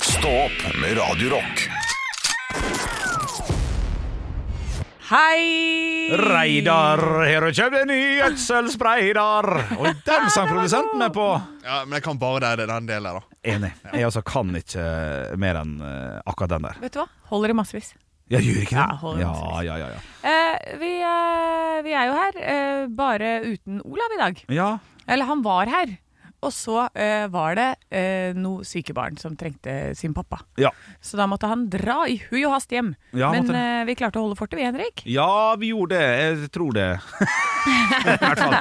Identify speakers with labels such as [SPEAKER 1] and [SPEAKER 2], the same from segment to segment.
[SPEAKER 1] Stå opp med Radio Rock.
[SPEAKER 2] Hei!
[SPEAKER 3] Reidar, her og kjøp deg ny gjødselspreidar. Og den sang produsenten med på.
[SPEAKER 4] Ja, Men jeg kan bare det, det er den delen der, da.
[SPEAKER 3] Enig. Jeg altså kan ikke eh, mer enn eh, akkurat den der.
[SPEAKER 2] Vet du hva? Holder i massevis.
[SPEAKER 3] Jeg gjør ikke
[SPEAKER 2] Ja, hold det
[SPEAKER 3] det? Ja,
[SPEAKER 2] masse.
[SPEAKER 3] ja, ja. ja.
[SPEAKER 2] Eh, vi, eh, vi er jo her, eh, bare uten Olav i dag.
[SPEAKER 3] ja.
[SPEAKER 2] Eller han var her. Og så eh, var det eh, noe syke barn som trengte sin pappa.
[SPEAKER 3] Ja.
[SPEAKER 2] Så da måtte han dra i hui og hast hjem.
[SPEAKER 3] Ja,
[SPEAKER 2] Men
[SPEAKER 3] måtte
[SPEAKER 2] eh, vi klarte å holde fortet, vi, Henrik.
[SPEAKER 3] ja, vi gjorde det. Jeg tror det. I hvert fall.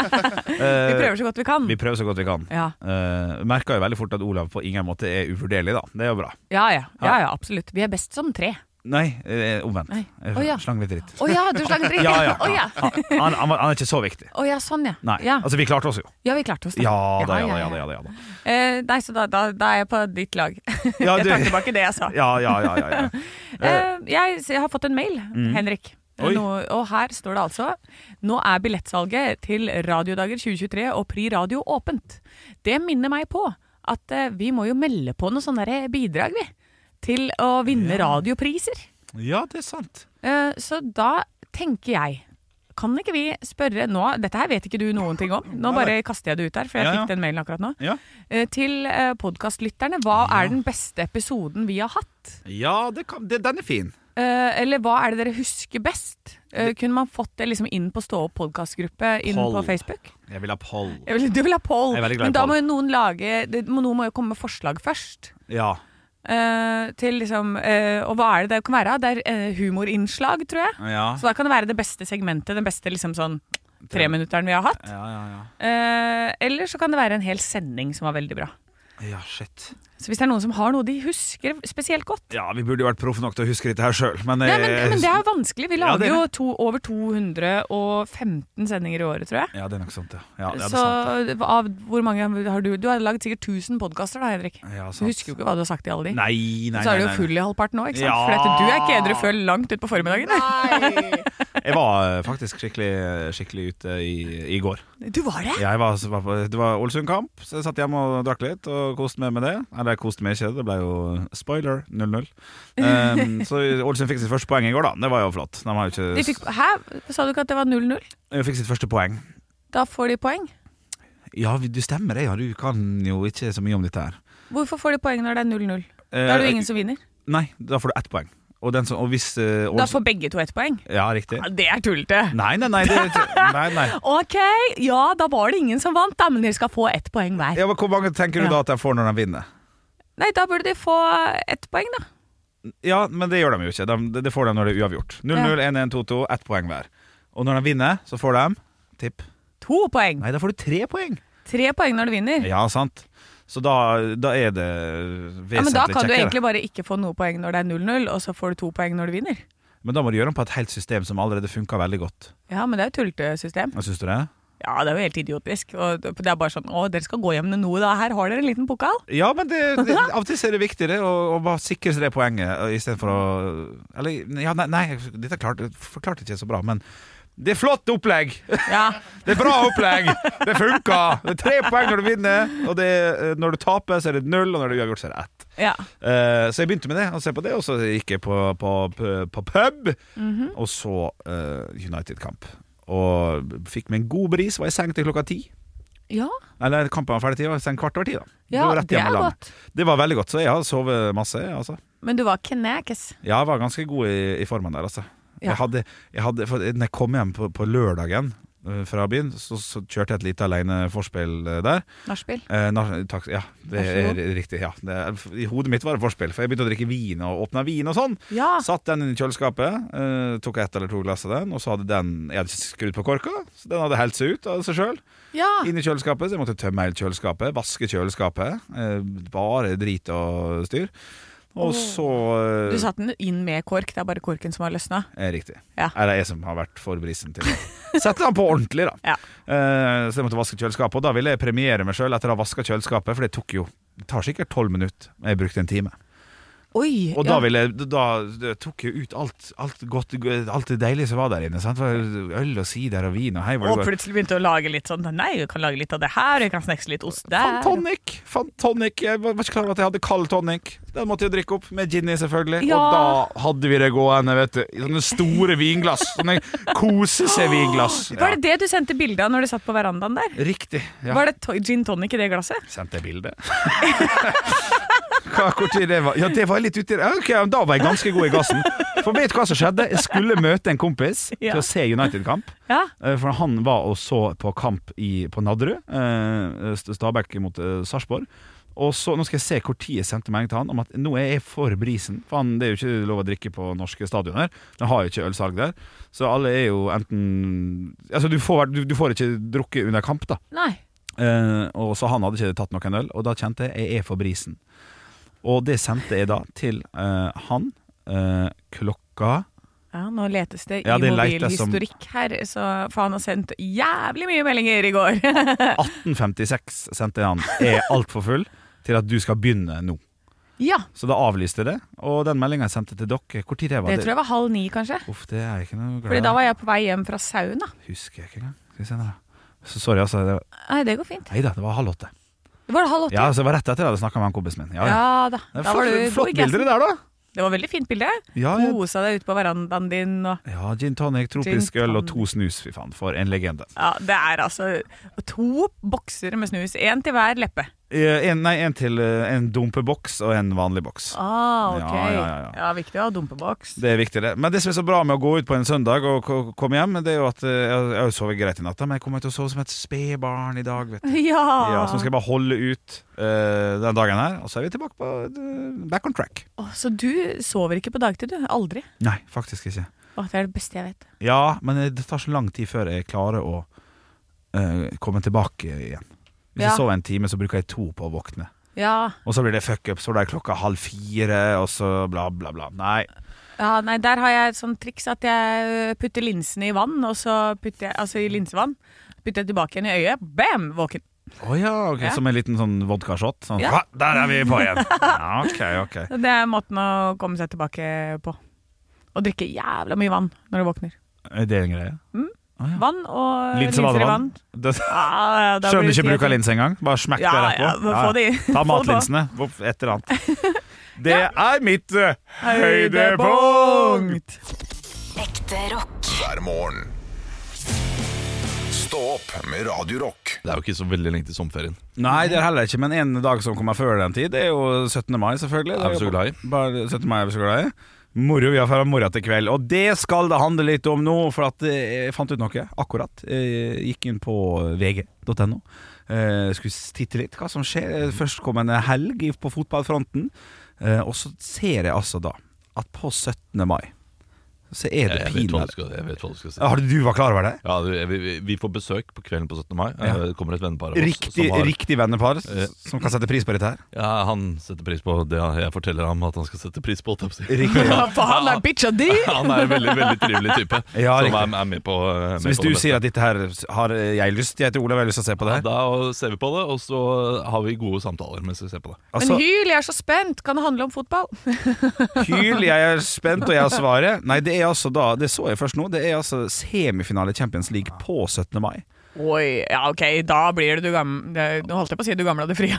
[SPEAKER 2] Vi
[SPEAKER 3] Eh,
[SPEAKER 2] prøver så godt vi kan.
[SPEAKER 3] vi prøver så godt vi kan.
[SPEAKER 2] Ja.
[SPEAKER 3] Uh, Merka jo veldig fort at Olav på ingen måte er uvurderlig, da. Det er jo bra.
[SPEAKER 2] Ja, ja, ja, ja, absolutt. Vi er best som tre.
[SPEAKER 3] Nei, eh, omvendt.
[SPEAKER 2] Nei.
[SPEAKER 3] Jeg
[SPEAKER 2] Å, ja.
[SPEAKER 3] Slang litt dritt.
[SPEAKER 2] Å ja, du slang tre!
[SPEAKER 3] Ja, ja,
[SPEAKER 2] Å ja.
[SPEAKER 3] Han, han, han var- han er ikke så viktig.
[SPEAKER 2] Å ja, sånn, ja.
[SPEAKER 3] Nei.
[SPEAKER 2] Ja.
[SPEAKER 3] Altså, vi klarte oss jo.
[SPEAKER 2] ja, vi klarte oss. da.
[SPEAKER 3] Ja da, ja da, ja da. Ja, da.
[SPEAKER 2] Eh, nei, så da, da, da er jeg på ditt lag.
[SPEAKER 3] Ja,
[SPEAKER 2] jeg
[SPEAKER 3] du-
[SPEAKER 2] tar tilbake det jeg sa.
[SPEAKER 3] Ja, ja, ja, ja, ja. Mm.
[SPEAKER 2] Eh, jeg, jeg har fått en mail, Henrik.
[SPEAKER 3] Oi.
[SPEAKER 2] Nå, og her står det altså Nå er billettsalget til Radiodager 2023 og Pri Radio åpent. Det minner meg på at eh, vi må jo melde på noen sånne der bidrag, vi. Til å vinne radiopriser.
[SPEAKER 3] ja det er sant.
[SPEAKER 2] Eh, så da tenker jeg Kan ikke vi spørre nå Dette her vet ikke du noen ting om. Nå bare kaster jeg det ut der, for jeg
[SPEAKER 3] Ja, ja.
[SPEAKER 2] fikk den mailen akkurat nå.
[SPEAKER 3] Ja.
[SPEAKER 2] Eh, til uh, podkastlytterne. Hva er den beste episoden vi har hatt?
[SPEAKER 3] Ja, det kan, det, den er fin.
[SPEAKER 2] Eh, eller hva er det dere husker best? Eh, kunne man fått det liksom inn på Stå opp podkastgruppe inn
[SPEAKER 3] Poll.
[SPEAKER 2] på Facebook?
[SPEAKER 3] Jeg vil ha poll.
[SPEAKER 2] Jeg vil, du vil ha poll,
[SPEAKER 3] Jeg er veldig glad i
[SPEAKER 2] men da
[SPEAKER 3] poll.
[SPEAKER 2] må jo noen lage det, må, Noen må jo komme med forslag først.
[SPEAKER 3] Ja.
[SPEAKER 2] Eh, til liksom eh, Og hva er det det kan være? Det er eh, humorinnslag, tror jeg.
[SPEAKER 3] Ja.
[SPEAKER 2] Så da kan det være det beste segmentet, den beste liksom sånn treminutteren vi har hatt.
[SPEAKER 3] Ja, ja, ja.
[SPEAKER 2] Eh, eller så kan det være en hel sending som var veldig bra.
[SPEAKER 3] Ja, shit.
[SPEAKER 2] Så hvis det er noen som har noe de husker spesielt godt
[SPEAKER 3] Ja, vi burde jo vært proffe nok til å huske dette her sjøl, men,
[SPEAKER 2] Nei,
[SPEAKER 3] eh,
[SPEAKER 2] men, men det er jo vanskelig. Vi
[SPEAKER 3] Ja,
[SPEAKER 2] lager
[SPEAKER 3] det er
[SPEAKER 2] jo to, over 215 sendinger i året, tror jeg.
[SPEAKER 3] Ja, det er nok sant, ja. Ja, ja, det er
[SPEAKER 2] Så
[SPEAKER 3] sant.
[SPEAKER 2] av hvor mange har du Du har laget sikkert 1000 podkaster da, Henrik.
[SPEAKER 3] Ja,
[SPEAKER 2] Du
[SPEAKER 3] sant.
[SPEAKER 2] husker jo ikke hva du har sagt i alle de.
[SPEAKER 3] Nei, nei,
[SPEAKER 2] så er du
[SPEAKER 3] nei,
[SPEAKER 2] jo
[SPEAKER 3] nei.
[SPEAKER 2] full i halvparten nå, ikke sant?
[SPEAKER 3] Ja.
[SPEAKER 2] For at du er ikke edru før langt utpå formiddagen.
[SPEAKER 3] Jeg var eh, faktisk skikkelig, skikkelig ute i, i går.
[SPEAKER 2] Du var det?
[SPEAKER 3] Jeg var, var på, det var Ålesund-kamp, så jeg satt hjemme og drakk litt og koste meg med det. Eller jeg koste meg ikke, det ble jo spoiler 0-0. Ehm, så Ålesund fikk sitt første poeng i går, da. Det var jo flott. De har jo
[SPEAKER 2] De
[SPEAKER 3] ikke
[SPEAKER 2] fikk, hæ? Sa du ikke at det var 0-0?
[SPEAKER 3] Jeg fikk sitt første poeng.
[SPEAKER 2] Da får de poeng.
[SPEAKER 3] Ja, du stemmer det, ja. Du kan jo ikke så mye om dette her. Eh,
[SPEAKER 2] Hvorfor får de poeng når det er 0-0? Da er det jo ingen som vinner.
[SPEAKER 3] Nei, da får du ett poeng. Og, den som, og hvis eh,
[SPEAKER 2] Da
[SPEAKER 3] Ålesund-
[SPEAKER 2] får begge to ett poeng.
[SPEAKER 3] Ja, riktig.
[SPEAKER 2] Ja, det er tullete.
[SPEAKER 3] Nei, nei, nei. Det, nei, nei.
[SPEAKER 2] Ok, ja, da var det ingen som vant, da, men dere skal få ett poeng hver.
[SPEAKER 3] Ja, men hvor mange tenker du da at de får når de vinner?
[SPEAKER 2] Nei, da burde de få ett poeng, da.
[SPEAKER 3] Ja, men det gjør de jo ikke. De, det får de når det er uavgjort. 0-0, 1-1, 2-2, ett poeng hver. Og når de vinner, så får de Tipp.
[SPEAKER 2] To poeng.
[SPEAKER 3] Nei, da får du tre poeng.
[SPEAKER 2] Tre poeng når du vinner.
[SPEAKER 3] Ja, sant. Så da, da er det vesentlig
[SPEAKER 2] Ja, men da kan du
[SPEAKER 3] kjekkere.
[SPEAKER 2] egentlig bare ikke få noe poeng når det er 0-0, og så får du to poeng når du vinner.
[SPEAKER 3] Men da må du gjøre den på et helt system som allerede funker veldig godt.
[SPEAKER 2] Ja, men det er jo tulltesystem.
[SPEAKER 3] Hva syns du det?
[SPEAKER 2] Ja, det er jo helt idiotisk. Og det er bare sånn Å, dere skal gå hjem med noe, da. Her har dere en liten pokal.
[SPEAKER 3] Ja, men det, det, av og til så er det viktig det, å, å bare sikre seg det poenget istedenfor å Eller ja, nei, nei dette klarte forklarte jeg ikke så bra, men det er flott opplegg!
[SPEAKER 2] Ja.
[SPEAKER 3] Det er bra opplegg! Det funker! Det er tre poeng når du vinner, og det, er- eh, når du taper, så er det null, og når du uavgjort, så er det ett.
[SPEAKER 2] ja.
[SPEAKER 3] Eh, så jeg begynte med det, og se på det, og så gikk jeg på, på, på, på pub,
[SPEAKER 2] Mhm.
[SPEAKER 3] og så eh, United-kamp. Og fikk meg en god bris, var i seng til klokka ti.
[SPEAKER 2] Ja,
[SPEAKER 3] Eller kampen var ferdig ti, var i seng kvart over ti, da.
[SPEAKER 2] ja
[SPEAKER 3] Dro rett
[SPEAKER 2] det
[SPEAKER 3] hjem og
[SPEAKER 2] er
[SPEAKER 3] la meg.
[SPEAKER 2] godt.
[SPEAKER 3] Det var veldig godt, så jeg har sovet masse. jeg, Altså.
[SPEAKER 2] Men du var knækes.
[SPEAKER 3] Ja, jeg var ganske god i, i formen der, altså.
[SPEAKER 2] Ja.
[SPEAKER 3] Jeg hadde, jeg hadde, for når jeg kom hjem på, på lørdagen eh, fra byen, så, så kjørte jeg et lite aleine forspill eh, der.
[SPEAKER 2] Nachspiel.
[SPEAKER 3] Eh, na- takk, ja, det
[SPEAKER 2] Vær så
[SPEAKER 3] er riktig. Ja. Det, er- I hodet mitt var det forspill, for jeg begynte å drikke vin og åpna vin og sånn.
[SPEAKER 2] Ja.
[SPEAKER 3] Satt den i kjøleskapet, eh, tok ett eller to glass av den, og så hadde den Jeg hadde ikke skrudd på korka, så den hadde helt seg ut av seg sjøl.
[SPEAKER 2] ja.
[SPEAKER 3] Inn i kjøleskapet, så jeg måtte tømme hele kjøleskapet, vaske kjøleskapet. Eh, bare drit og styr. Og så eh,
[SPEAKER 2] Du satte den inn med kork, det er bare korken som har løsna.
[SPEAKER 3] er Eh, Riktig.
[SPEAKER 2] Ja.
[SPEAKER 3] Er det jeg som har vært for brisen til det? Sette den på ordentlig, da.
[SPEAKER 2] Ja.
[SPEAKER 3] Eh, så jeg måtte vaske kjøleskapet. Og da ville jeg premiere meg sjøl etter å ha vaska kjøleskapet, for det tok jo det tar sikkert tolv minutter. men Jeg brukte en time.
[SPEAKER 2] Oi!
[SPEAKER 3] Og da,
[SPEAKER 2] ja.
[SPEAKER 3] ville, jeg- da det tok jeg ut alt, alt godt Alt det deilige som var der inne. Sant? For Øl og sider og vin og hei var
[SPEAKER 2] Og
[SPEAKER 3] det godt.
[SPEAKER 2] plutselig begynte å lage litt sånn Nei, jeg kan lage litt av det her, jeg kan snekse litt ost der.
[SPEAKER 3] Fan tonic! Fan tonic. Jeg var var ikke klar over at jeg hadde kald tonic. Den måtte jeg drikke opp, med gin i, selvfølgelig.
[SPEAKER 2] Ja.
[SPEAKER 3] Og da hadde vi det gående, vet du. I sånne store vinglass. Sånne kose-seg-vinglass.
[SPEAKER 2] Var det det du sendte bilde av når du satt på verandaen der?
[SPEAKER 3] Riktig. Ja.
[SPEAKER 2] Var det to- gin tonic i det glasset?
[SPEAKER 3] Sendte jeg bilde? Hva, hvor tid det var? Ja, det var jeg litt uti ja, ok, Da var jeg ganske god i gassen. For vet du hva som skjedde? Jeg skulle møte en kompis
[SPEAKER 2] Ja.
[SPEAKER 3] til å se United-kamp.
[SPEAKER 2] Ja.
[SPEAKER 3] Eh, For han var og så på kamp i, på Nadderud. eh, St- Stabæk mot eh, Sarpsborg. Og så, Nå skal jeg se hvor tid jeg sendte melding til han om at nå er jeg for brisen. For han, Det er jo ikke lov å drikke på norske stadioner. De har jo ikke ølsalg der. Så alle er jo enten Altså, du får, du, du får ikke drukket under kamp, da.
[SPEAKER 2] Nei.
[SPEAKER 3] Eh, og så han hadde ikke tatt noen øl, og da kjente jeg jeg er for brisen. Og det sendte jeg da til eh, han eh, klokka
[SPEAKER 2] Ja, nå letes det i
[SPEAKER 3] Ja, det letes som-
[SPEAKER 2] mobilhistorikk her, så for han har sendt jævlig mye meldinger i går.
[SPEAKER 3] 18.56 sendte jeg han. Jeg er altfor full til at du skal begynne nå.
[SPEAKER 2] ja,
[SPEAKER 3] Så da avlyste jeg det, og den meldinga jeg sendte til dere, hvor tid det var
[SPEAKER 2] det tror jeg var halv ni, kanskje.
[SPEAKER 3] Uff, det er jeg ikke noe
[SPEAKER 2] Fordi
[SPEAKER 3] glad
[SPEAKER 2] da
[SPEAKER 3] i.
[SPEAKER 2] var jeg på vei hjem fra sauna.
[SPEAKER 3] Husker jeg ikke engang. Skal vi se nå. Så sorry, altså. Det var,
[SPEAKER 2] Nei, det går fint.
[SPEAKER 3] nei da, det var halv åtte.
[SPEAKER 2] Det var halv åtte.
[SPEAKER 3] Ja, så det var rett etter jeg hadde snakka med han kompisen min. Ja, ja.
[SPEAKER 2] Ja da.
[SPEAKER 3] Det er
[SPEAKER 2] da var
[SPEAKER 3] flott,
[SPEAKER 2] du god i
[SPEAKER 3] flott bilder
[SPEAKER 2] gassen.
[SPEAKER 3] det der, da.
[SPEAKER 2] Det var veldig fint bilde.
[SPEAKER 3] Ja, ja.
[SPEAKER 2] Kosa deg ute på verandaen din og
[SPEAKER 3] ja, gin tonic, tropisk
[SPEAKER 2] Gin
[SPEAKER 3] øl og
[SPEAKER 2] tonic.
[SPEAKER 3] to snus, fy faen. For en legende.
[SPEAKER 2] Ja, det er altså to bokser med snus. Én til hver leppe.
[SPEAKER 3] Eh, En, nei, en til eh, en dumpeboks og en vanlig boks.
[SPEAKER 2] Ah,
[SPEAKER 3] ok. Ja, ja, ja, ja.
[SPEAKER 2] viktig å ha dumpeboks.
[SPEAKER 3] Det er viktig, det. Men det som er så bra med å gå ut på en søndag og ko- komme hjem, det er jo at eh, jeg jeg har jo sovet greit i natt, da, men jeg kommer til å sove som et spedbarn i dag, vet du.
[SPEAKER 2] Ja.
[SPEAKER 3] Ja, så nå skal jeg bare holde ut eh, den dagen her, og så er vi tilbake på eh, back on track.
[SPEAKER 2] Å, så du sover ikke på dagtid, du? Aldri?
[SPEAKER 3] Nei, faktisk ikke.
[SPEAKER 2] Å, det er det beste jeg vet.
[SPEAKER 3] Ja, men eh, det tar så lang tid før jeg klarer å eh, komme tilbake igjen. Hvis
[SPEAKER 2] Ja.
[SPEAKER 3] jeg sover en time, så bruker jeg to på å våkne.
[SPEAKER 2] Ja,
[SPEAKER 3] Og så blir det fuck up, så er det klokka halv fire, og så bla, bla, bla. Nei.
[SPEAKER 2] ja nei, der har jeg et sånt triks at jeg øh, putter linsene i vann, og så putter jeg, altså i linsevann. Putter jeg tilbake igjen i øyet, bam, våken.
[SPEAKER 3] Å ja, ok,
[SPEAKER 2] Ja.
[SPEAKER 3] Som en liten sånn vodkashot? Sånn,
[SPEAKER 2] Ja.
[SPEAKER 3] «Ha, Der er vi på igjen! Ja, ok, ok.
[SPEAKER 2] Så Det er måten å komme seg tilbake på. Og drikke jævla mye vann når du våkner.
[SPEAKER 3] Er det en greie?
[SPEAKER 2] Vann og linser
[SPEAKER 3] Linse
[SPEAKER 2] i vann.
[SPEAKER 3] badevann? Det-
[SPEAKER 2] Ja, ja, da
[SPEAKER 3] Skjønner
[SPEAKER 2] blir det
[SPEAKER 3] ikke bruk av
[SPEAKER 2] tid.
[SPEAKER 3] linse engang. Bare smekk
[SPEAKER 2] Ja,
[SPEAKER 3] det rett på.
[SPEAKER 2] ja, men få de-
[SPEAKER 3] Ta
[SPEAKER 2] få
[SPEAKER 3] matlinsene. Voff, Et eller annet. Det er mitt eh, høydepunkt!
[SPEAKER 2] Høydepunkt!
[SPEAKER 5] Ekte rock.
[SPEAKER 1] hver morgen. Stå opp med Radio Rock.
[SPEAKER 4] Det er jo ikke så veldig lenge til sommerferien.
[SPEAKER 3] Nei, det er heller ikke, men en dag som kommer før den tid, det er jo 17. mai, selvfølgelig.
[SPEAKER 4] Er vi så glad i?
[SPEAKER 3] Bare 17. mai er vi så glad i. Moro vi har fra morgen til kveld, og det skal det handle litt om nå, for at eh, jeg fant ut noe akkurat. Jeg gikk inn på vg.no. Eh, skulle titte litt hva som skjer eh, førstkommende helg i- på fotballfronten. Eh, og så ser jeg altså da at på 17. mai så er det
[SPEAKER 6] Jeg vet, hva du
[SPEAKER 3] pinadø
[SPEAKER 6] skal, jeg vet hva du skal si.
[SPEAKER 3] Har du du var klar over det?
[SPEAKER 6] Ja, du, vi, vi- vi får besøk på kvelden på 17. mai. Eh,
[SPEAKER 3] Ja.
[SPEAKER 6] Det kommer et vennepar av oss.
[SPEAKER 3] Riktig,
[SPEAKER 6] som har,
[SPEAKER 3] riktig vennepar
[SPEAKER 6] Eh.
[SPEAKER 3] som kan sette pris på dette her.
[SPEAKER 6] Ja, han setter pris på det jeg forteller ham at han skal sette pris på. holdt jeg på å si.
[SPEAKER 3] Riktig, ja.
[SPEAKER 2] For han er bitcha di!
[SPEAKER 6] Han er en veldig veldig trivelig type.
[SPEAKER 3] Ja,
[SPEAKER 6] som
[SPEAKER 3] riktig.
[SPEAKER 6] er, er med på
[SPEAKER 3] Så
[SPEAKER 6] eh, med
[SPEAKER 3] hvis
[SPEAKER 6] på
[SPEAKER 3] du
[SPEAKER 6] det
[SPEAKER 3] sier at dette her har jeg lyst Jeg heter Olav, jeg har lyst til å se på det her.
[SPEAKER 6] beste. Da ser vi på det, og så har vi gode samtaler mens vi ser på det.
[SPEAKER 2] Men
[SPEAKER 3] Altså,
[SPEAKER 2] hyl, jeg er så spent! Kan det handle om fotball?
[SPEAKER 3] hyl, jeg er spent, og jeg har svaret. Nei, det er altså da Det så jeg først nå. Det er altså semifinale i Champions League på 17. mai.
[SPEAKER 2] Oi, ja ok, da blir det du gamle det- Nå holdt jeg på å si du gamle og du frie.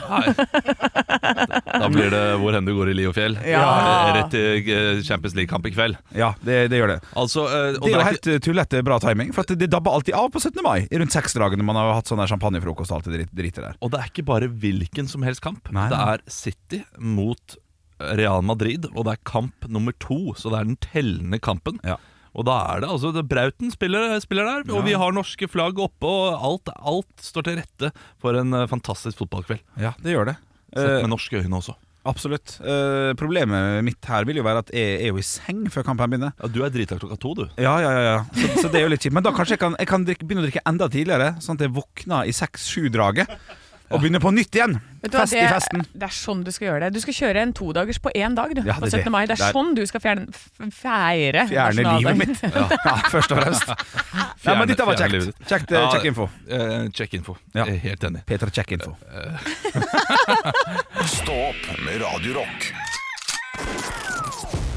[SPEAKER 6] Da blir det hvor hen du går i li og fjell.
[SPEAKER 2] Ja.
[SPEAKER 6] Eh, Rett til eh, Champions League-kamp i kveld.
[SPEAKER 3] Ja, det, det gjør det.
[SPEAKER 6] Altså, eh, og
[SPEAKER 3] Det er jo
[SPEAKER 6] ikke-
[SPEAKER 3] helt eh, tullete bra timing, for at det dabber alltid av på 17. mai. Rundt seksdragene man har hatt sånn der champagnefrokost og alt det drit- dritet der.
[SPEAKER 6] Og det er ikke bare hvilken som helst kamp.
[SPEAKER 3] Nei,
[SPEAKER 6] Det
[SPEAKER 3] nei.
[SPEAKER 6] er City mot Real Madrid, og det er kamp nummer to. Så det er den tellende kampen.
[SPEAKER 3] Ja.
[SPEAKER 6] Og da er det altså det Brauten spiller, spiller der, og vi har norske flagg oppe, og alt, alt står til rette for en eh, fantastisk fotballkveld.
[SPEAKER 3] Ja, det gjør det.
[SPEAKER 6] Sett
[SPEAKER 3] Eh,
[SPEAKER 6] med norske øyne også.
[SPEAKER 3] absolutt. Eh, problemet mitt her vil jo være at jeg er jo i seng før kampen begynner.
[SPEAKER 6] Ja, du er drita klokka to, du.
[SPEAKER 3] Ja, ja, ja, ja. Så, så det er jo litt kjipt. Men da kanskje jeg kan, jeg kan drikke, begynne å drikke enda tidligere, sånn at jeg våkner i seks-sju-draget. og begynne på nytt igjen.
[SPEAKER 2] Vet du hva,
[SPEAKER 3] Fest i
[SPEAKER 2] det-
[SPEAKER 3] festen.
[SPEAKER 2] Det er sånn du skal gjøre det. Du skal kjøre en todagers på én dag du,
[SPEAKER 3] Ja,
[SPEAKER 2] på
[SPEAKER 3] det er
[SPEAKER 2] 17. mai. Det
[SPEAKER 3] det
[SPEAKER 2] er
[SPEAKER 3] er-
[SPEAKER 2] sånn du skal fjerne, f- feire
[SPEAKER 3] Fjerne
[SPEAKER 2] nasjonaldagen.
[SPEAKER 3] livet mitt. Ja. først og fremst. Nei, men dette var
[SPEAKER 6] fjerne
[SPEAKER 3] kjekt.
[SPEAKER 6] livet.
[SPEAKER 3] Kjekt eh,
[SPEAKER 6] Ja,
[SPEAKER 3] Check-info.
[SPEAKER 6] Eh, Check-info.
[SPEAKER 3] Ja.
[SPEAKER 6] Eh, Helt enig.
[SPEAKER 3] Peter Check-info.
[SPEAKER 1] Stå opp med Radio Rock.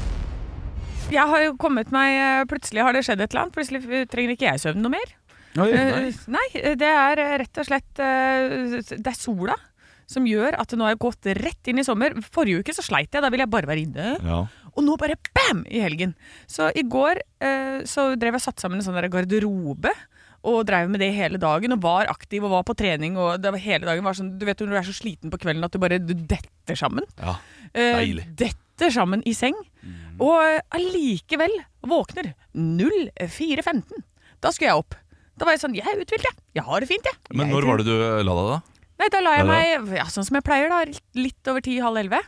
[SPEAKER 2] Jeg har jo kommet meg eh, Plutselig har det skjedd et eller annet. Plutselig eh, trenger ikke jeg søvn noe mer. Eh, Nei, eh, det er eh, rett og slett eh, Det er sola som gjør at nå har jeg gått rett inn i sommer. Forrige uke så sleit jeg, da ville jeg bare være inne.
[SPEAKER 6] Ja.
[SPEAKER 2] Og nå bare bam! i helgen. Så i går eh, så drev jeg satt sammen en sånn der garderobe. Og drev med det hele dagen og var aktiv og var på trening. og det var hele dagen var sånn, Du vet når du er så sliten på kvelden at du bare du detter sammen.
[SPEAKER 6] Ja.
[SPEAKER 2] Eh,
[SPEAKER 6] Deilig. Mm.
[SPEAKER 2] detter sammen i seng. Og eh, allikevel våkner 04.15. Da skulle jeg opp. Da var jeg sånn Jeg er uthvilt, jeg. Jeg har det fint, jeg.
[SPEAKER 6] Men
[SPEAKER 2] Jeg
[SPEAKER 6] når
[SPEAKER 2] tror-
[SPEAKER 6] var det du la deg, da?
[SPEAKER 2] Nei, da la jeg
[SPEAKER 6] Ja,
[SPEAKER 2] meg ja, sånn som jeg pleier, da. litt- Litt over ti, halv elleve.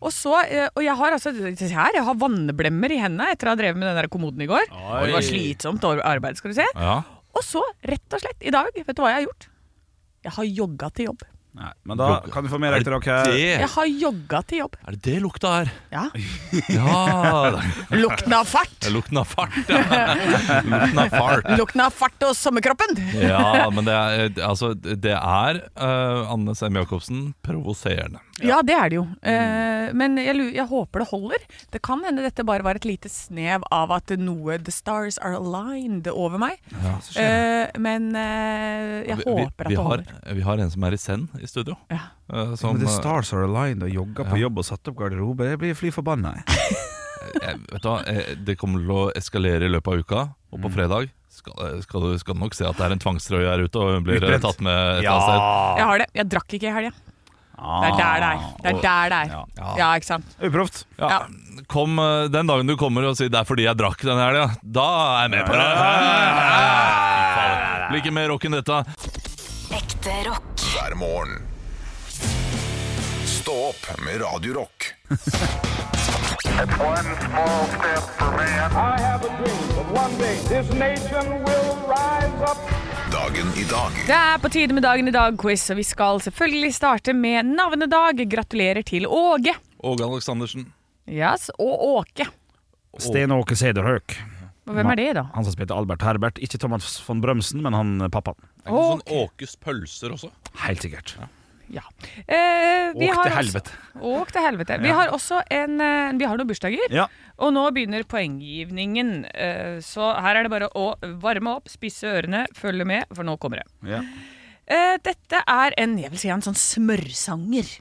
[SPEAKER 2] Og så, eh, og jeg har altså se her, jeg har vannblemmer i hendene etter å ha drevet med den der kommoden i går. Og det var slitsomt ar- arbeid, skal du se.
[SPEAKER 6] Ja.
[SPEAKER 2] Og så, rett og slett, i dag, vet du hva jeg har gjort? Jeg har jogga til jobb.
[SPEAKER 3] Nei, men da kan du få mer etter dere.
[SPEAKER 6] Det,
[SPEAKER 2] Jeg har jogga til jobb.
[SPEAKER 6] er det det lukta er?
[SPEAKER 2] Ja.
[SPEAKER 6] Ja, det
[SPEAKER 2] Lukten av fart!
[SPEAKER 6] er lukten av fart. Ja. Lukten av fart.
[SPEAKER 2] Lukten av fart og sommerkroppen!
[SPEAKER 6] Ja, men det er, altså, det er eh, Anne Sem Jacobsen provoserende.
[SPEAKER 2] Ja, det er det jo.
[SPEAKER 6] Mm.
[SPEAKER 2] Eh, men jeg, lu- jeg håper det holder. Det kan hende dette bare var et lite snev av at noe The stars are aligned over meg. Eh, men eh, jeg
[SPEAKER 6] Vi- vi-
[SPEAKER 2] håper at
[SPEAKER 6] vi
[SPEAKER 2] det
[SPEAKER 6] har,
[SPEAKER 2] holder.
[SPEAKER 6] vi har en som er i send i studio.
[SPEAKER 2] Ja.
[SPEAKER 6] eh,
[SPEAKER 3] Som,
[SPEAKER 6] som,
[SPEAKER 3] men det
[SPEAKER 6] eh,
[SPEAKER 3] Stars are aligned og jogga på jobb og satt opp garderobe. Jeg blir fly forbanna. jeg.
[SPEAKER 6] jeg, vet du, hva, eh, det kommer til å eskalere i løpet av uka, og
[SPEAKER 3] Mm.
[SPEAKER 6] på fredag skal, eh, skal, du, skal du nok se at det er en tvangstrøye her ute, og hun blir eh,
[SPEAKER 3] Utbrent.
[SPEAKER 6] tatt med et
[SPEAKER 3] Ja.
[SPEAKER 6] eller annet
[SPEAKER 2] Jeg har det. Jeg drakk ikke i helga. Det er der det er. Det er der det er.
[SPEAKER 6] Ah. Ja.
[SPEAKER 2] Ja, ikke sant.
[SPEAKER 3] Uproft.
[SPEAKER 6] sted. Ja. Kom, eh, den dagen du kommer og sier 'det er fordi jeg drakk den helga', da er jeg med på det. Faen, Blir ikke mer rock enn dette.
[SPEAKER 5] Ekte rock.
[SPEAKER 1] hver morgen. Stå opp med Radio Rock.
[SPEAKER 7] I have a dream that one day this nation will rise up.
[SPEAKER 1] Dagen i dag
[SPEAKER 2] Det er på tide med Dagen i dag-quiz, og vi skal selvfølgelig starte med navnedag. Gratulerer til Åge.
[SPEAKER 6] Åge Aleksandersen.
[SPEAKER 2] Yes, og Åke.
[SPEAKER 3] Sten Åke Sederhøk.
[SPEAKER 2] Og hvem er det, da?
[SPEAKER 3] Han som spilte Albert Herbert. Ikke Thomas von Brømsen, men han eh, pappaen.
[SPEAKER 6] Er ikke sånn Åkes pølser også?
[SPEAKER 3] Helt sikkert.
[SPEAKER 2] Ja. Eh, vi
[SPEAKER 3] Åk
[SPEAKER 2] har
[SPEAKER 3] til
[SPEAKER 2] også-
[SPEAKER 3] helvete.
[SPEAKER 2] Åk til helvete. Vi har også en eh, Vi har noen bursdager,
[SPEAKER 3] Ja.
[SPEAKER 2] og nå begynner poenggivningen. Eh, Så her er det bare å varme opp, spisse ørene, følge med, for nå kommer det.
[SPEAKER 3] Ja.
[SPEAKER 2] Eh, Dette er en Jeg vil si en sånn smørsanger.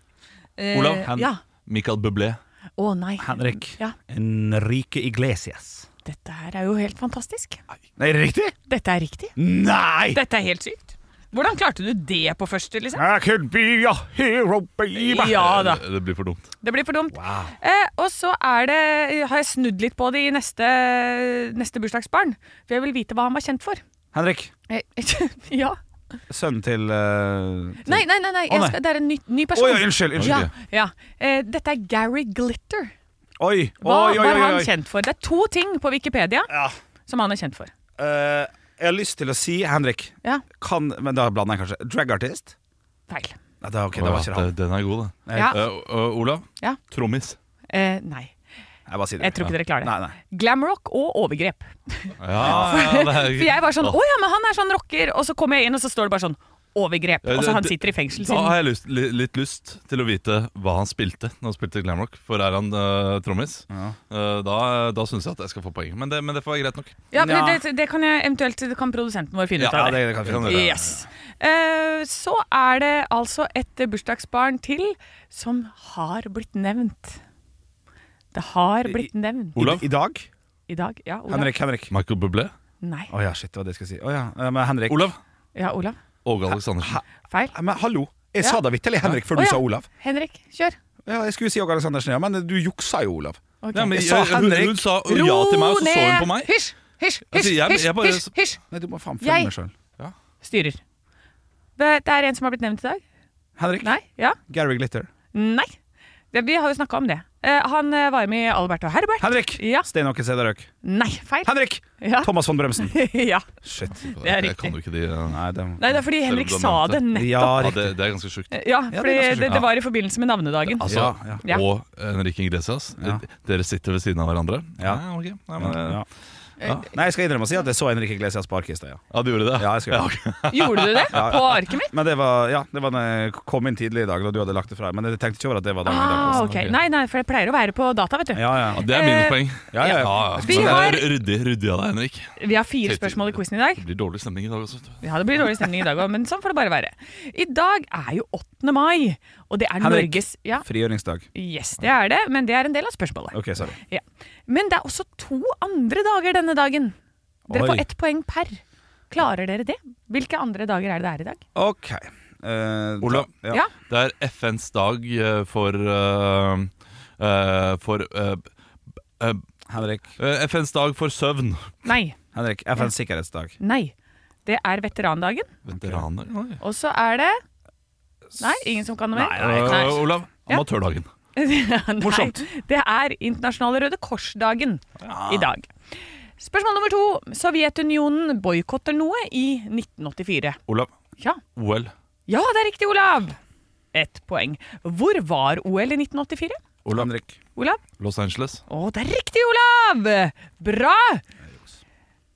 [SPEAKER 2] Eh,
[SPEAKER 6] Olav, han-
[SPEAKER 2] Ja.
[SPEAKER 6] Michael Bublé.
[SPEAKER 2] Å nei.
[SPEAKER 3] Henrik.
[SPEAKER 2] Ja.
[SPEAKER 3] Enrique Iglesias.
[SPEAKER 2] Dette her er jo helt fantastisk.
[SPEAKER 3] Nei, riktig?
[SPEAKER 2] Dette er riktig.
[SPEAKER 3] Nei!
[SPEAKER 2] Dette er helt sykt. Hvordan klarte du det på første, liksom?
[SPEAKER 3] I could be a hero, baby.
[SPEAKER 2] Ja da.
[SPEAKER 6] Det, det blir for dumt.
[SPEAKER 2] Det blir for dumt. Eh, og så er det, har jeg snudd litt på det i neste, neste bursdagsbarn. For jeg vil vite hva han var kjent for.
[SPEAKER 3] Henrik.
[SPEAKER 2] Eh, ja.
[SPEAKER 3] Sønnen til eh, til-
[SPEAKER 2] Nei, nei, nei. nei.
[SPEAKER 3] Å,
[SPEAKER 2] Jeg
[SPEAKER 3] nei.
[SPEAKER 2] skal, det er en ny, ny
[SPEAKER 3] Oi,
[SPEAKER 2] person.
[SPEAKER 3] oi, unnskyld. unnskyld.
[SPEAKER 2] Ja, ja. Eh, dette er Gary Glitter.
[SPEAKER 3] Oi,
[SPEAKER 2] Hva
[SPEAKER 3] oi, oi,
[SPEAKER 2] var
[SPEAKER 3] oi,
[SPEAKER 2] han
[SPEAKER 3] oi.
[SPEAKER 2] kjent for? Det er to ting på Wikipedia som han er kjent for.
[SPEAKER 3] Eh, jeg har lyst til å si, Henrik
[SPEAKER 2] Ja.
[SPEAKER 3] kan, Men da blander jeg kanskje. Dragartist?
[SPEAKER 2] Feil.
[SPEAKER 3] Nei, da, ok, det var ikke
[SPEAKER 6] Ja,
[SPEAKER 3] han.
[SPEAKER 6] det- eh, Den er god, da.
[SPEAKER 2] Ja.
[SPEAKER 6] Eh, eh, Olav?
[SPEAKER 2] Ja.
[SPEAKER 6] Trommis.
[SPEAKER 2] Eh, nei.
[SPEAKER 3] Jeg bare sier det.
[SPEAKER 2] Jeg tror ikke dere klarer det.
[SPEAKER 3] Nei, nei.
[SPEAKER 2] Glamrock og overgrep.
[SPEAKER 6] Ja, ja, det er-
[SPEAKER 2] For jeg var sånn Å ja, men han er sånn rocker. Og så kommer jeg inn, og så står det bare sånn Overgrep. Og så han sitter i fengsel
[SPEAKER 6] Da
[SPEAKER 2] siden
[SPEAKER 6] har jeg lyst, li, litt lyst til å vite hva han spilte når han spilte glamrock. For er han eh, trommis, eh, da, da syns jeg at jeg skal få poeng. Men det, men det får være greit nok.
[SPEAKER 2] Ja, men
[SPEAKER 3] Ja.
[SPEAKER 2] Det, det kan jeg eventuelt Det kan produsenten vår finne ut
[SPEAKER 3] Ja,
[SPEAKER 2] av.
[SPEAKER 3] det, det kan vi finne ut av.
[SPEAKER 2] Yes. Eh, så er det altså et bursdagsbarn til som har blitt nevnt. Det har blitt nevnt
[SPEAKER 6] Olav?
[SPEAKER 3] I, I dag?
[SPEAKER 2] i dag. Ja, Olav.
[SPEAKER 3] Henrik. Henrik.
[SPEAKER 6] Michael Bublé.
[SPEAKER 2] Nei.
[SPEAKER 3] Å ja, shit, det var det jeg skulle si. Å ja, eh, men Henrik.
[SPEAKER 6] Olav.
[SPEAKER 2] Ja, Olav.
[SPEAKER 6] Åge Aleksandersen.
[SPEAKER 2] Feil.
[SPEAKER 3] Nei, Men hallo. Jeg
[SPEAKER 2] Ja.
[SPEAKER 3] sa da vitterlig Henrik
[SPEAKER 2] Å,
[SPEAKER 3] før du
[SPEAKER 2] ja.
[SPEAKER 3] sa Olav.
[SPEAKER 2] Henrik, kjør.
[SPEAKER 3] Ja, jeg skulle si Åge Aleksandersen, ja, men du juksa jo, Olav.
[SPEAKER 2] Ok.
[SPEAKER 6] Nei, men
[SPEAKER 3] Jeg sa
[SPEAKER 6] jeg- hun,
[SPEAKER 3] Henrik.
[SPEAKER 6] hun sa ja til meg, og så så hun på meg.
[SPEAKER 2] Hysj, hysj,
[SPEAKER 6] Altså,
[SPEAKER 2] hysj,
[SPEAKER 6] jeg-
[SPEAKER 2] hysj,
[SPEAKER 6] jeg bare-
[SPEAKER 2] hysj, hysj.
[SPEAKER 3] Nei, du må faen
[SPEAKER 2] Jeg-
[SPEAKER 3] følge med sjøl.
[SPEAKER 2] Styrer. Det det er en som har blitt nevnt i dag.
[SPEAKER 3] Henrik.
[SPEAKER 2] Nei. Ja.
[SPEAKER 3] Gary Glitter.
[SPEAKER 2] Nei. Det, vi har jo snakka om det. Eh, han eh, var med i Albert og Herbert.
[SPEAKER 3] Henrik!
[SPEAKER 2] Ja.
[SPEAKER 3] Stein Åke Sæderøk.
[SPEAKER 2] Nei, feil.
[SPEAKER 3] Henrik!
[SPEAKER 2] Ja.
[SPEAKER 3] Thomas von Bremsen.
[SPEAKER 2] ja.
[SPEAKER 3] Shit.
[SPEAKER 2] Det er
[SPEAKER 6] Jeg kan jo ikke de eh,
[SPEAKER 3] Nei, det
[SPEAKER 2] Nei, det er fordi Henrik
[SPEAKER 6] Selv om du
[SPEAKER 2] sa
[SPEAKER 6] har
[SPEAKER 2] det
[SPEAKER 6] nevnt
[SPEAKER 2] nettopp.
[SPEAKER 3] Ja,
[SPEAKER 6] Ja,
[SPEAKER 3] riktig.
[SPEAKER 6] det, det er ganske sjukt.
[SPEAKER 2] Ja,
[SPEAKER 3] det er
[SPEAKER 2] fordi
[SPEAKER 3] ganske
[SPEAKER 2] det,
[SPEAKER 3] sjukt.
[SPEAKER 2] det, var i forbindelse med navnedagen.
[SPEAKER 6] Altså,
[SPEAKER 3] Ja, ja.
[SPEAKER 2] Ja.
[SPEAKER 6] Og eh, Henrik Ingresias.
[SPEAKER 3] Ja.
[SPEAKER 6] Dere sitter ved siden av hverandre?
[SPEAKER 3] Ja.
[SPEAKER 6] ok. Nei, men, eh,
[SPEAKER 3] Ja.
[SPEAKER 6] ja.
[SPEAKER 3] Nei, jeg skal innrømme å si at jeg så Henrik Iglesias på Arket i sted, ja.
[SPEAKER 6] du gjorde det?
[SPEAKER 3] Ja, jeg skal gjøre det.
[SPEAKER 2] Gjorde du det? På arket mitt?
[SPEAKER 3] Men det var, ja, det var da jeg kom inn tidlig i dag, da du hadde lagt det fra deg. Men jeg tenkte ikke over at det var dagen i dag.
[SPEAKER 2] Ah,
[SPEAKER 3] også.
[SPEAKER 2] ok. Nei, nei, for det pleier å være på data, vet du.
[SPEAKER 3] Ja,
[SPEAKER 6] sånn, Ja,
[SPEAKER 3] ja.
[SPEAKER 6] det er minuspoeng.
[SPEAKER 3] Ja, ja, ja.
[SPEAKER 2] Vi
[SPEAKER 6] Men det
[SPEAKER 2] har-
[SPEAKER 6] er Ryddig, ryddig av deg, Henrik.
[SPEAKER 2] Vi har fire spørsmål i quizen i dag.
[SPEAKER 6] Det blir dårlig stemning i dag også. vet du.
[SPEAKER 2] Ja, Det blir dårlig stemning i dag òg, men sånn får det bare være. I dag er jo 8. mai, og det er
[SPEAKER 3] Henrik.
[SPEAKER 2] Norges ja,
[SPEAKER 3] Frigjøringsdag.
[SPEAKER 2] Yes, det er det, men det er en del av spørsmålet.
[SPEAKER 3] Ok, sorry.
[SPEAKER 2] Ja. Men det er også to andre dager denne dagen. Dere
[SPEAKER 3] Oi.
[SPEAKER 2] får ett poeng per. Klarer dere det? Hvilke andre dager er det det er i dag?
[SPEAKER 3] Ok. Eh,
[SPEAKER 6] Olav.
[SPEAKER 3] da-
[SPEAKER 2] Ja.
[SPEAKER 6] Det er FNs dag eh, for eh, eh, For eh, eh,
[SPEAKER 3] Henrik.
[SPEAKER 6] eh, FNs dag for søvn.
[SPEAKER 2] Nei.
[SPEAKER 3] Henrik. FNs sikkerhetsdag.
[SPEAKER 2] nei. Det er veterandagen.
[SPEAKER 6] Veteraner Nei.
[SPEAKER 2] Og så er det Nei, ingen som kan noe mer?
[SPEAKER 6] Eh, Olav.
[SPEAKER 2] Ja. Nei,
[SPEAKER 6] Amatørdagen. Morsomt.
[SPEAKER 2] Det er internasjonale Røde Kors-dagen i dag. Spørsmål nummer to. Sovjetunionen boikotter noe i 1984.
[SPEAKER 6] Olav.
[SPEAKER 2] Ja.
[SPEAKER 6] OL.
[SPEAKER 2] ja, det er riktig, Olav! Ett poeng. Hvor var OL i 1984?
[SPEAKER 6] Olav.
[SPEAKER 3] Henrik.
[SPEAKER 2] Olav?
[SPEAKER 6] Los Angeles.
[SPEAKER 2] Å, det er riktig, Olav! Bra!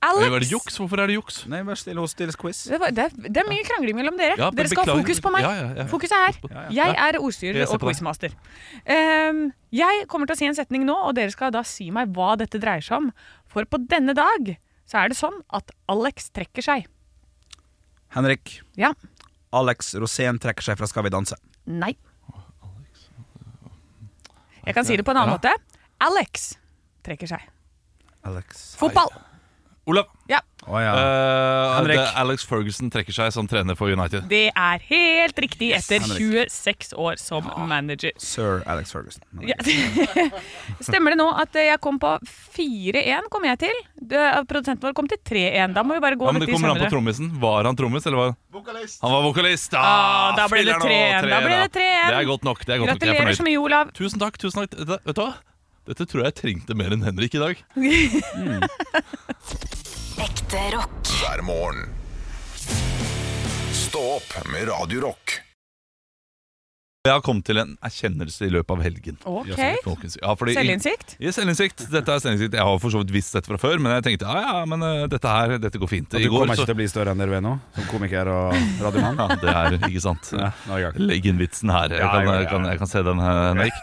[SPEAKER 6] Oi, var det
[SPEAKER 2] Alex
[SPEAKER 6] juks? Hvorfor Eh, er det juks?
[SPEAKER 3] Nei, vær stille og still quiz.
[SPEAKER 2] det, var, det, er- det er mye krangling mellom dere.
[SPEAKER 6] Ja,
[SPEAKER 2] dere skal ha
[SPEAKER 6] beklager.
[SPEAKER 2] fokus på meg.
[SPEAKER 6] Ja, ja, ja.
[SPEAKER 2] Fokuset er her. Jeg er
[SPEAKER 6] Jeg
[SPEAKER 2] ordstyrer
[SPEAKER 6] ser
[SPEAKER 2] og
[SPEAKER 6] på deg.
[SPEAKER 2] quizmaster. Ehm, jeg kommer til å si en setning nå, og dere skal da si meg hva dette dreier seg om. For på denne dag så er det sånn at Alex trekker seg.
[SPEAKER 3] Henrik.
[SPEAKER 2] Ja.
[SPEAKER 3] Alex Rosén trekker seg fra Skal vi danse.
[SPEAKER 2] Nei. Jeg kan si det på en annen måte. Alex trekker seg.
[SPEAKER 3] Alex.
[SPEAKER 2] Fotball!
[SPEAKER 6] Olav.
[SPEAKER 3] Å ja.
[SPEAKER 6] Eh,
[SPEAKER 3] Henrik.
[SPEAKER 6] det- Alex Ferguson trekker seg som trener for United.
[SPEAKER 2] Det er helt riktig etter
[SPEAKER 3] Henrik.
[SPEAKER 2] 26 år som manager.
[SPEAKER 3] Sir Alex Ferguson. Henrik.
[SPEAKER 2] Ja. Stemmer det nå at eh, jeg kom på 4-1, kom jeg til? Det- Produsenten vår kom til 3-1. Da må vi bare gå
[SPEAKER 6] Ja, men
[SPEAKER 2] litt i
[SPEAKER 6] Det kommer an på
[SPEAKER 2] sømmene.
[SPEAKER 6] trommisen. Var han trommis, eller var
[SPEAKER 4] Vokalist.
[SPEAKER 6] Han var vokalist!
[SPEAKER 2] Ah, da ble det
[SPEAKER 6] filler'n, nå,
[SPEAKER 2] 3-1, da ble det 3-1.
[SPEAKER 6] Det er godt nok. det er godt nok, jeg er
[SPEAKER 2] Gratulerer
[SPEAKER 6] fornøyd.
[SPEAKER 2] så mye, Olav.
[SPEAKER 6] Tusen takk. tusen takk Dette, Vet du hva? Dette tror jeg trengte mer enn Henrik i dag.
[SPEAKER 5] Ekte rock.
[SPEAKER 1] hver morgen. Stå opp med Radio Rock.
[SPEAKER 6] Jeg har kommet til en erkjennelse i løpet av helgen.
[SPEAKER 2] Ok.
[SPEAKER 6] Folkens, Ja, fordi
[SPEAKER 2] Selvinnsikt?
[SPEAKER 6] I selvinnsikt. Dette er selvinnsikt. Jeg har for så vidt visst dette fra før, men jeg tenkte ja, ja, men eh, dette her, dette går fint.
[SPEAKER 3] At
[SPEAKER 6] I
[SPEAKER 3] du
[SPEAKER 6] går
[SPEAKER 3] kommer ikke
[SPEAKER 6] så
[SPEAKER 3] til å bli større enn dere er nå, som komiker og radiomann?
[SPEAKER 6] Ja, det er ikke sant.
[SPEAKER 3] Ja, nå er jeg i gang.
[SPEAKER 6] Legg inn vitsen her. Jeg
[SPEAKER 3] Ja,
[SPEAKER 6] kan,
[SPEAKER 3] ja, ja,
[SPEAKER 6] jeg kan,
[SPEAKER 3] ja.
[SPEAKER 6] jeg kan se den, eh, Henrik.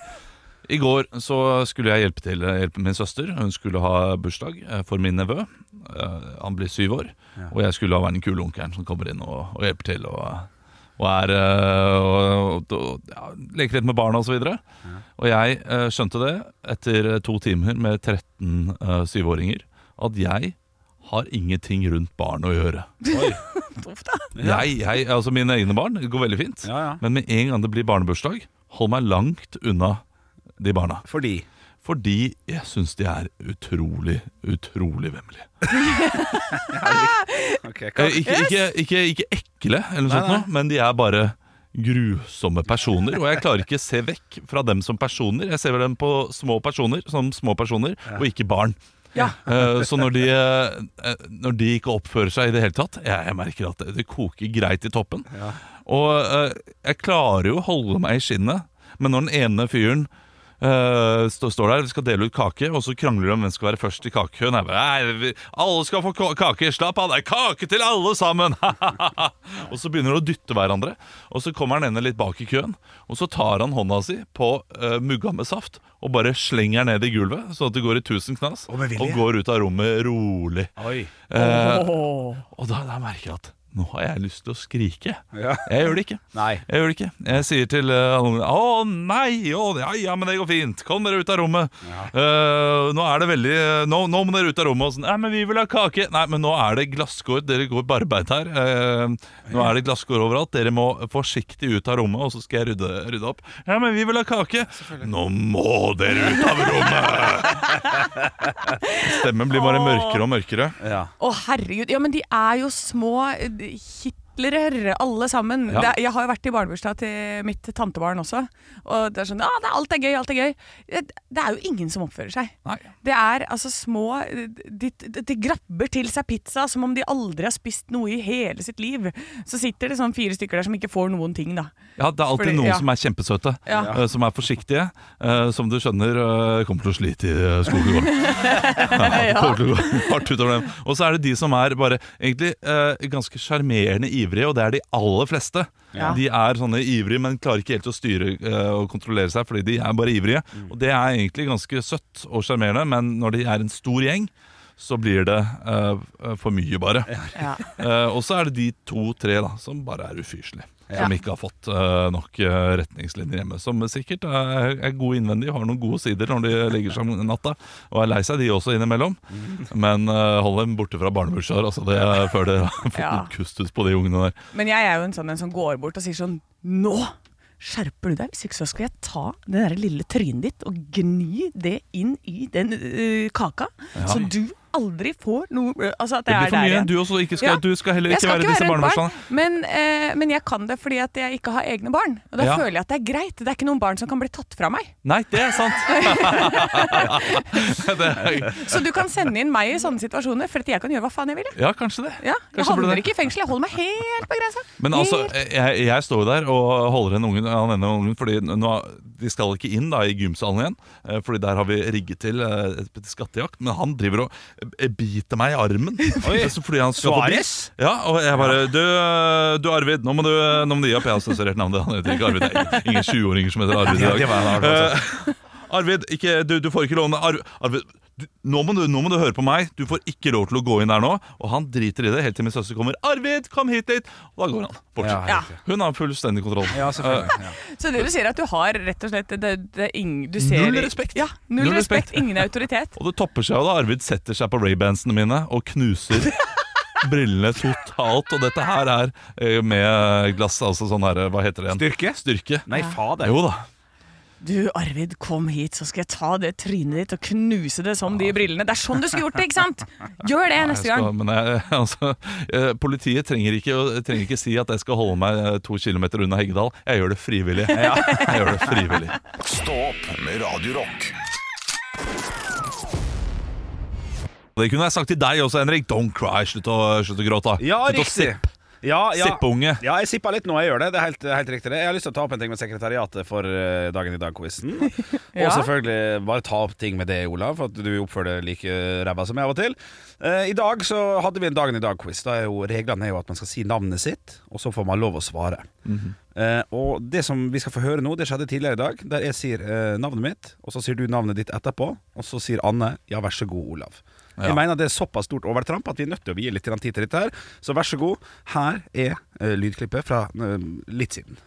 [SPEAKER 6] I går så skulle jeg hjelpe til hjelpe min søster. Hun skulle ha bursdag eh, for min nevø. Eh, Han blir syv år. Og jeg skulle ha vært den kule onkelen som kommer inn og, og hjelper til. Og, og er eh, og, og, og ja, leker litt med barna osv. videre Og jeg eh, skjønte det etter eh, to timer med 13 eh, syvåringer at jeg har ingenting rundt barn å gjøre. Jeg, jeg, altså Mine egne barn det går veldig fint.
[SPEAKER 3] Ja, ja.
[SPEAKER 6] Men med en gang det blir barnebursdag, hold meg langt unna de barna.
[SPEAKER 3] Fordi
[SPEAKER 6] Fordi jeg syns de er utrolig, utrolig vemmelige.
[SPEAKER 3] Ok,
[SPEAKER 6] Eh,
[SPEAKER 3] hva-
[SPEAKER 6] Ikke, ikke, ikke, ikke ekle, eller noe
[SPEAKER 3] Nei,
[SPEAKER 6] sånt, noe, men de er bare grusomme personer. Og jeg klarer ikke se vekk fra dem som personer. Jeg ser vel dem på små personer som små personer, og ikke barn. Eh, Så når de, eh, når de ikke oppfører seg i det hele tatt Jeg, jeg merker at det, det koker greit i toppen. Og eh, jeg klarer jo å holde meg i skinnet, men når den ene fyren eh, stå- står der, skal dele ut kake, og så krangler de om hvem skal være først i kakekøen. Jeg bare, Nei, vi- alle skal få ka- kake, slapp av, det er kake til alle sammen! og så begynner de å dytte hverandre, og så kommer han ene litt bak i køen, og så tar han hånda si på eh, mugga med saft og bare slenger ned i gulvet, sånn at det går i tusen knas,
[SPEAKER 3] Og med vilje.
[SPEAKER 6] og går ut av rommet rolig.
[SPEAKER 3] Oi.
[SPEAKER 6] Eh, og da, da merker jeg at nå har jeg lyst til å skrike.
[SPEAKER 3] Ja.
[SPEAKER 6] Jeg gjør det ikke.
[SPEAKER 3] Nei.
[SPEAKER 6] Jeg gjør det ikke. Jeg sier til eh, alle ungene Å nei, å, ja, ja, men det går fint. Kom dere ut av rommet. Eh, nå er det veldig eh, nå, nå må dere ut av rommet. Og sånn, nei, men vi vil ha kake. Nei, men nå er det glasskår. Dere går barbeint her. Eh, nå er det glasskår overalt. Dere må forsiktig ut av rommet, og så skal jeg rydde, rydde opp. Ja, men vi vil ha kake. Nå må dere ut av rommet! Stemmen blir bare mørkere og mørkere.
[SPEAKER 3] Ja.
[SPEAKER 2] Å, herregud. Ja, men de er jo små eh, Hitler gratulerer, alle sammen.
[SPEAKER 6] Ja.
[SPEAKER 2] Det, er- jeg har jo vært i barnebursdag til mitt tantebarn også. Og det er sånn, ah, det, er- alt er gøy, alt er gøy. Det, det er jo ingen som oppfører seg.
[SPEAKER 6] Nei.
[SPEAKER 2] Det er altså små de, de, de grabber til seg pizza som om de aldri har spist noe i hele sitt liv. Så sitter det sånn fire stykker der som ikke får noen ting, da.
[SPEAKER 6] Ja, det er alltid
[SPEAKER 2] Fordi-
[SPEAKER 6] noen
[SPEAKER 2] ja.
[SPEAKER 6] som er kjempesøte,
[SPEAKER 2] Ja.
[SPEAKER 6] eh, som er forsiktige, eh, som du skjønner eh, kommer til å slite i eh, skolegården. ja, det kommer til å gå hardt utover dem. Og så er det de som er bare egentlig eh, ganske sjarmerende ivrige, og det er de aller fleste.
[SPEAKER 2] Ja.
[SPEAKER 6] De er sånne ivrige, men klarer ikke helt å styre eh, og kontrollere seg, fordi de er bare ivrige.
[SPEAKER 2] Mm.
[SPEAKER 6] Og det er egentlig ganske søtt og sjarmerende, men når de er en stor gjeng, så blir det eh, for mye, bare.
[SPEAKER 2] Ja.
[SPEAKER 6] Eh, og så er det de to-tre da som bare er ufyselige.
[SPEAKER 2] Ja.
[SPEAKER 6] Som ikke har fått eh, nok eh, retningslinjer hjemme. Som sikkert er, er gode innvendig, har noen gode sider når de legger seg om natta. Og er lei seg, de også, innimellom.
[SPEAKER 2] Mm.
[SPEAKER 6] Men eh, hold dem borte fra barnebursdager altså det, før dere har fått
[SPEAKER 2] Ja.
[SPEAKER 6] noen kustus på de ungene der.
[SPEAKER 2] Men jeg er jo en sånn en som går bort og sier sånn Nå skjerper du deg, hvis ikke så skal jeg ta det der lille trynet ditt og gni det inn i den øh, kaka, så du aldri får noe øh, Altså at
[SPEAKER 6] Det
[SPEAKER 2] jeg er
[SPEAKER 6] blir for
[SPEAKER 2] der
[SPEAKER 6] mye.
[SPEAKER 2] igjen.
[SPEAKER 6] Du, også, ikke skal,
[SPEAKER 2] Ja.
[SPEAKER 6] du skal heller
[SPEAKER 2] Jeg
[SPEAKER 6] ikke
[SPEAKER 2] skal
[SPEAKER 6] være i disse
[SPEAKER 2] rundt
[SPEAKER 6] barnebursdagene.
[SPEAKER 2] barn, men, eh, men jeg kan det fordi at jeg ikke har egne barn. Og da
[SPEAKER 6] Ja.
[SPEAKER 2] føler jeg at det er greit. Det er ikke noen barn som kan bli tatt fra meg.
[SPEAKER 6] Nei, det er sant! det er,
[SPEAKER 2] Så du kan sende inn meg i sånne situasjoner, for at jeg kan gjøre hva faen jeg vil. jeg.
[SPEAKER 6] ja, kanskje det.
[SPEAKER 2] Ja, jeg
[SPEAKER 6] Kanskje burde
[SPEAKER 2] havner
[SPEAKER 6] det.
[SPEAKER 2] ikke i fengsel, jeg holder meg helt på grensa.
[SPEAKER 6] Men altså,
[SPEAKER 2] Helt-
[SPEAKER 6] jeg, jeg står jo der og holder en ungen, han ene ungen Fordi nå, de skal ikke inn da i gymsalen igjen eh, Fordi der har vi rigget til eh, et skattejakt Men han driver og eh, biter meg i armen Så Fordi han skal forbi
[SPEAKER 3] Suarez?
[SPEAKER 6] Ja, og jeg bare Du, eh, du Arvid, nå må du, eh, nå må du gi opp Jeg har sensurert navnet, han heter ikke Arvid Det er ingen 20-åringer som heter Arvid i
[SPEAKER 3] Ja,
[SPEAKER 6] dag
[SPEAKER 3] det var han, altså.
[SPEAKER 6] Eh, Arvid, ikke, du, du får ikke lov Ar Arvid, du, nå, må du, nå må du høre på meg. Du får ikke lov til å gå inn der nå. Og han driter i det helt til min søster kommer. 'Arvid, kom hit litt!' Og da går han bort.
[SPEAKER 3] Ja,
[SPEAKER 2] Ja.
[SPEAKER 6] Hun har fullstendig kontroll.
[SPEAKER 3] Ja,
[SPEAKER 6] Eh,
[SPEAKER 3] selvfølgelig. Ja.
[SPEAKER 2] Så det du sier er at du har rett og slett det, det, er ing, du ser,
[SPEAKER 6] Null respekt.
[SPEAKER 2] Ja, null,
[SPEAKER 6] Null
[SPEAKER 2] respekt.
[SPEAKER 6] respekt.
[SPEAKER 2] Ingen autoritet.
[SPEAKER 6] Og det topper seg jo da Arvid setter seg på Ray-bandsene mine og knuser brillene totalt. Og dette her er eh, med glass, altså sånn her Hva heter det igjen?
[SPEAKER 3] Styrke?
[SPEAKER 6] Styrke.
[SPEAKER 3] Nei, fader.
[SPEAKER 6] Jo da.
[SPEAKER 2] Du Arvid, kom hit, så skal jeg ta det trynet ditt og knuse det som de brillene. Det er sånn du skulle gjort det, ikke sant? Gjør det neste
[SPEAKER 6] Jeg skal,
[SPEAKER 2] gang.
[SPEAKER 6] men jeg, altså, eh, politiet trenger ikke, å- trenger ikke si at jeg skal holde meg eh, to kilometer unna Heggedal. Jeg gjør det frivillig. Jeg gjør det frivillig.
[SPEAKER 1] Stå opp med Radio Rock.
[SPEAKER 6] Det kunne jeg sagt til deg også, Henrik. Don't cry. Slutt å, slutt å gråte.
[SPEAKER 3] Ja,
[SPEAKER 6] slutt
[SPEAKER 3] riktig.
[SPEAKER 6] å sippe.
[SPEAKER 3] Ja, ja.
[SPEAKER 6] Sippeunge.
[SPEAKER 3] Ja, jeg sippa litt nå, jeg gjør det. Det er helt, helt riktig. det. Jeg har lyst til å ta opp en ting med sekretariatet for eh, Dagen i dag-quizen.
[SPEAKER 2] Ja.
[SPEAKER 3] Og selvfølgelig bare ta opp ting med det, Olav, for at du oppfører deg like ræva som jeg av og til. Eh, I dag så hadde vi en Dagen i dag-quiz. Da er jo Reglene er jo at man skal si navnet sitt, og så får man lov å svare.
[SPEAKER 6] Mhm.
[SPEAKER 3] Eh, og det som vi skal få høre nå, det skjedde tidligere i dag, der jeg sier eh, navnet mitt, og så sier du navnet ditt etterpå, og så sier Anne 'ja, vær så god, Olav'. Jeg mener det er såpass stort overtramp at vi er nødt til å gi litt grann tid til dette her. Så vær så god, her er eh, lydklippet fra eh, litt siden.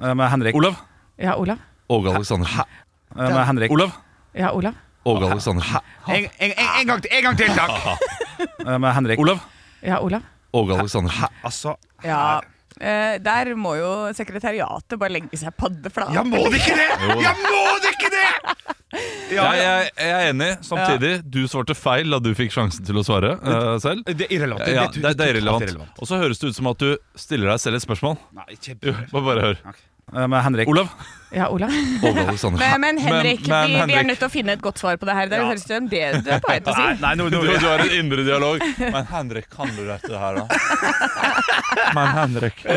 [SPEAKER 3] Eh, med Henrik.
[SPEAKER 6] Olav.
[SPEAKER 2] Ja, Olav.
[SPEAKER 6] Åge Aleksandersen.
[SPEAKER 3] Eh, med Henrik.
[SPEAKER 6] Olav.
[SPEAKER 2] Ja, Olav.
[SPEAKER 6] Åge Aleksandersen.
[SPEAKER 3] En, en, en, en gang til, en gang til, takk! Eh, med Henrik.
[SPEAKER 6] Ah, Olav.
[SPEAKER 2] Ja, Olav.
[SPEAKER 6] Åge Aleksandersen.
[SPEAKER 3] Altså
[SPEAKER 2] Ja. Eh, der må jo sekretariatet bare legge seg paddeflat.
[SPEAKER 3] Ja, må det ikke det?!
[SPEAKER 6] Jo da.
[SPEAKER 3] Ja, må det ikke det?! Ja,
[SPEAKER 6] Jeg, jeg, jeg er enig. Samtidig, du svarte feil da du fikk sjansen til å svare eh, selv.
[SPEAKER 3] Det er irrelevant.
[SPEAKER 6] Ja, ja,
[SPEAKER 3] Det er
[SPEAKER 6] det, det er
[SPEAKER 3] totalt
[SPEAKER 6] irrelevant.
[SPEAKER 3] irrelevant.
[SPEAKER 6] Og så høres det ut som at du stiller deg selv et spørsmål.
[SPEAKER 3] Nei, ikke
[SPEAKER 6] Jo,
[SPEAKER 3] bør.
[SPEAKER 6] bare, bare hør.
[SPEAKER 3] Eh, med Henrik.
[SPEAKER 6] Olav.
[SPEAKER 2] Ja, Olav.
[SPEAKER 6] Åge Aleksandersen.
[SPEAKER 2] Men, men Henrik,
[SPEAKER 6] Men- men
[SPEAKER 2] vi, vi er
[SPEAKER 6] Henrik.
[SPEAKER 2] nødt til å finne et godt svar på det her. Det høres ut som det du er på vei til å si.
[SPEAKER 3] Nei, nå,
[SPEAKER 6] Du,
[SPEAKER 3] nå,
[SPEAKER 6] du har en indre dialog. Men Henrik, kan du dette her, da? Men Henrik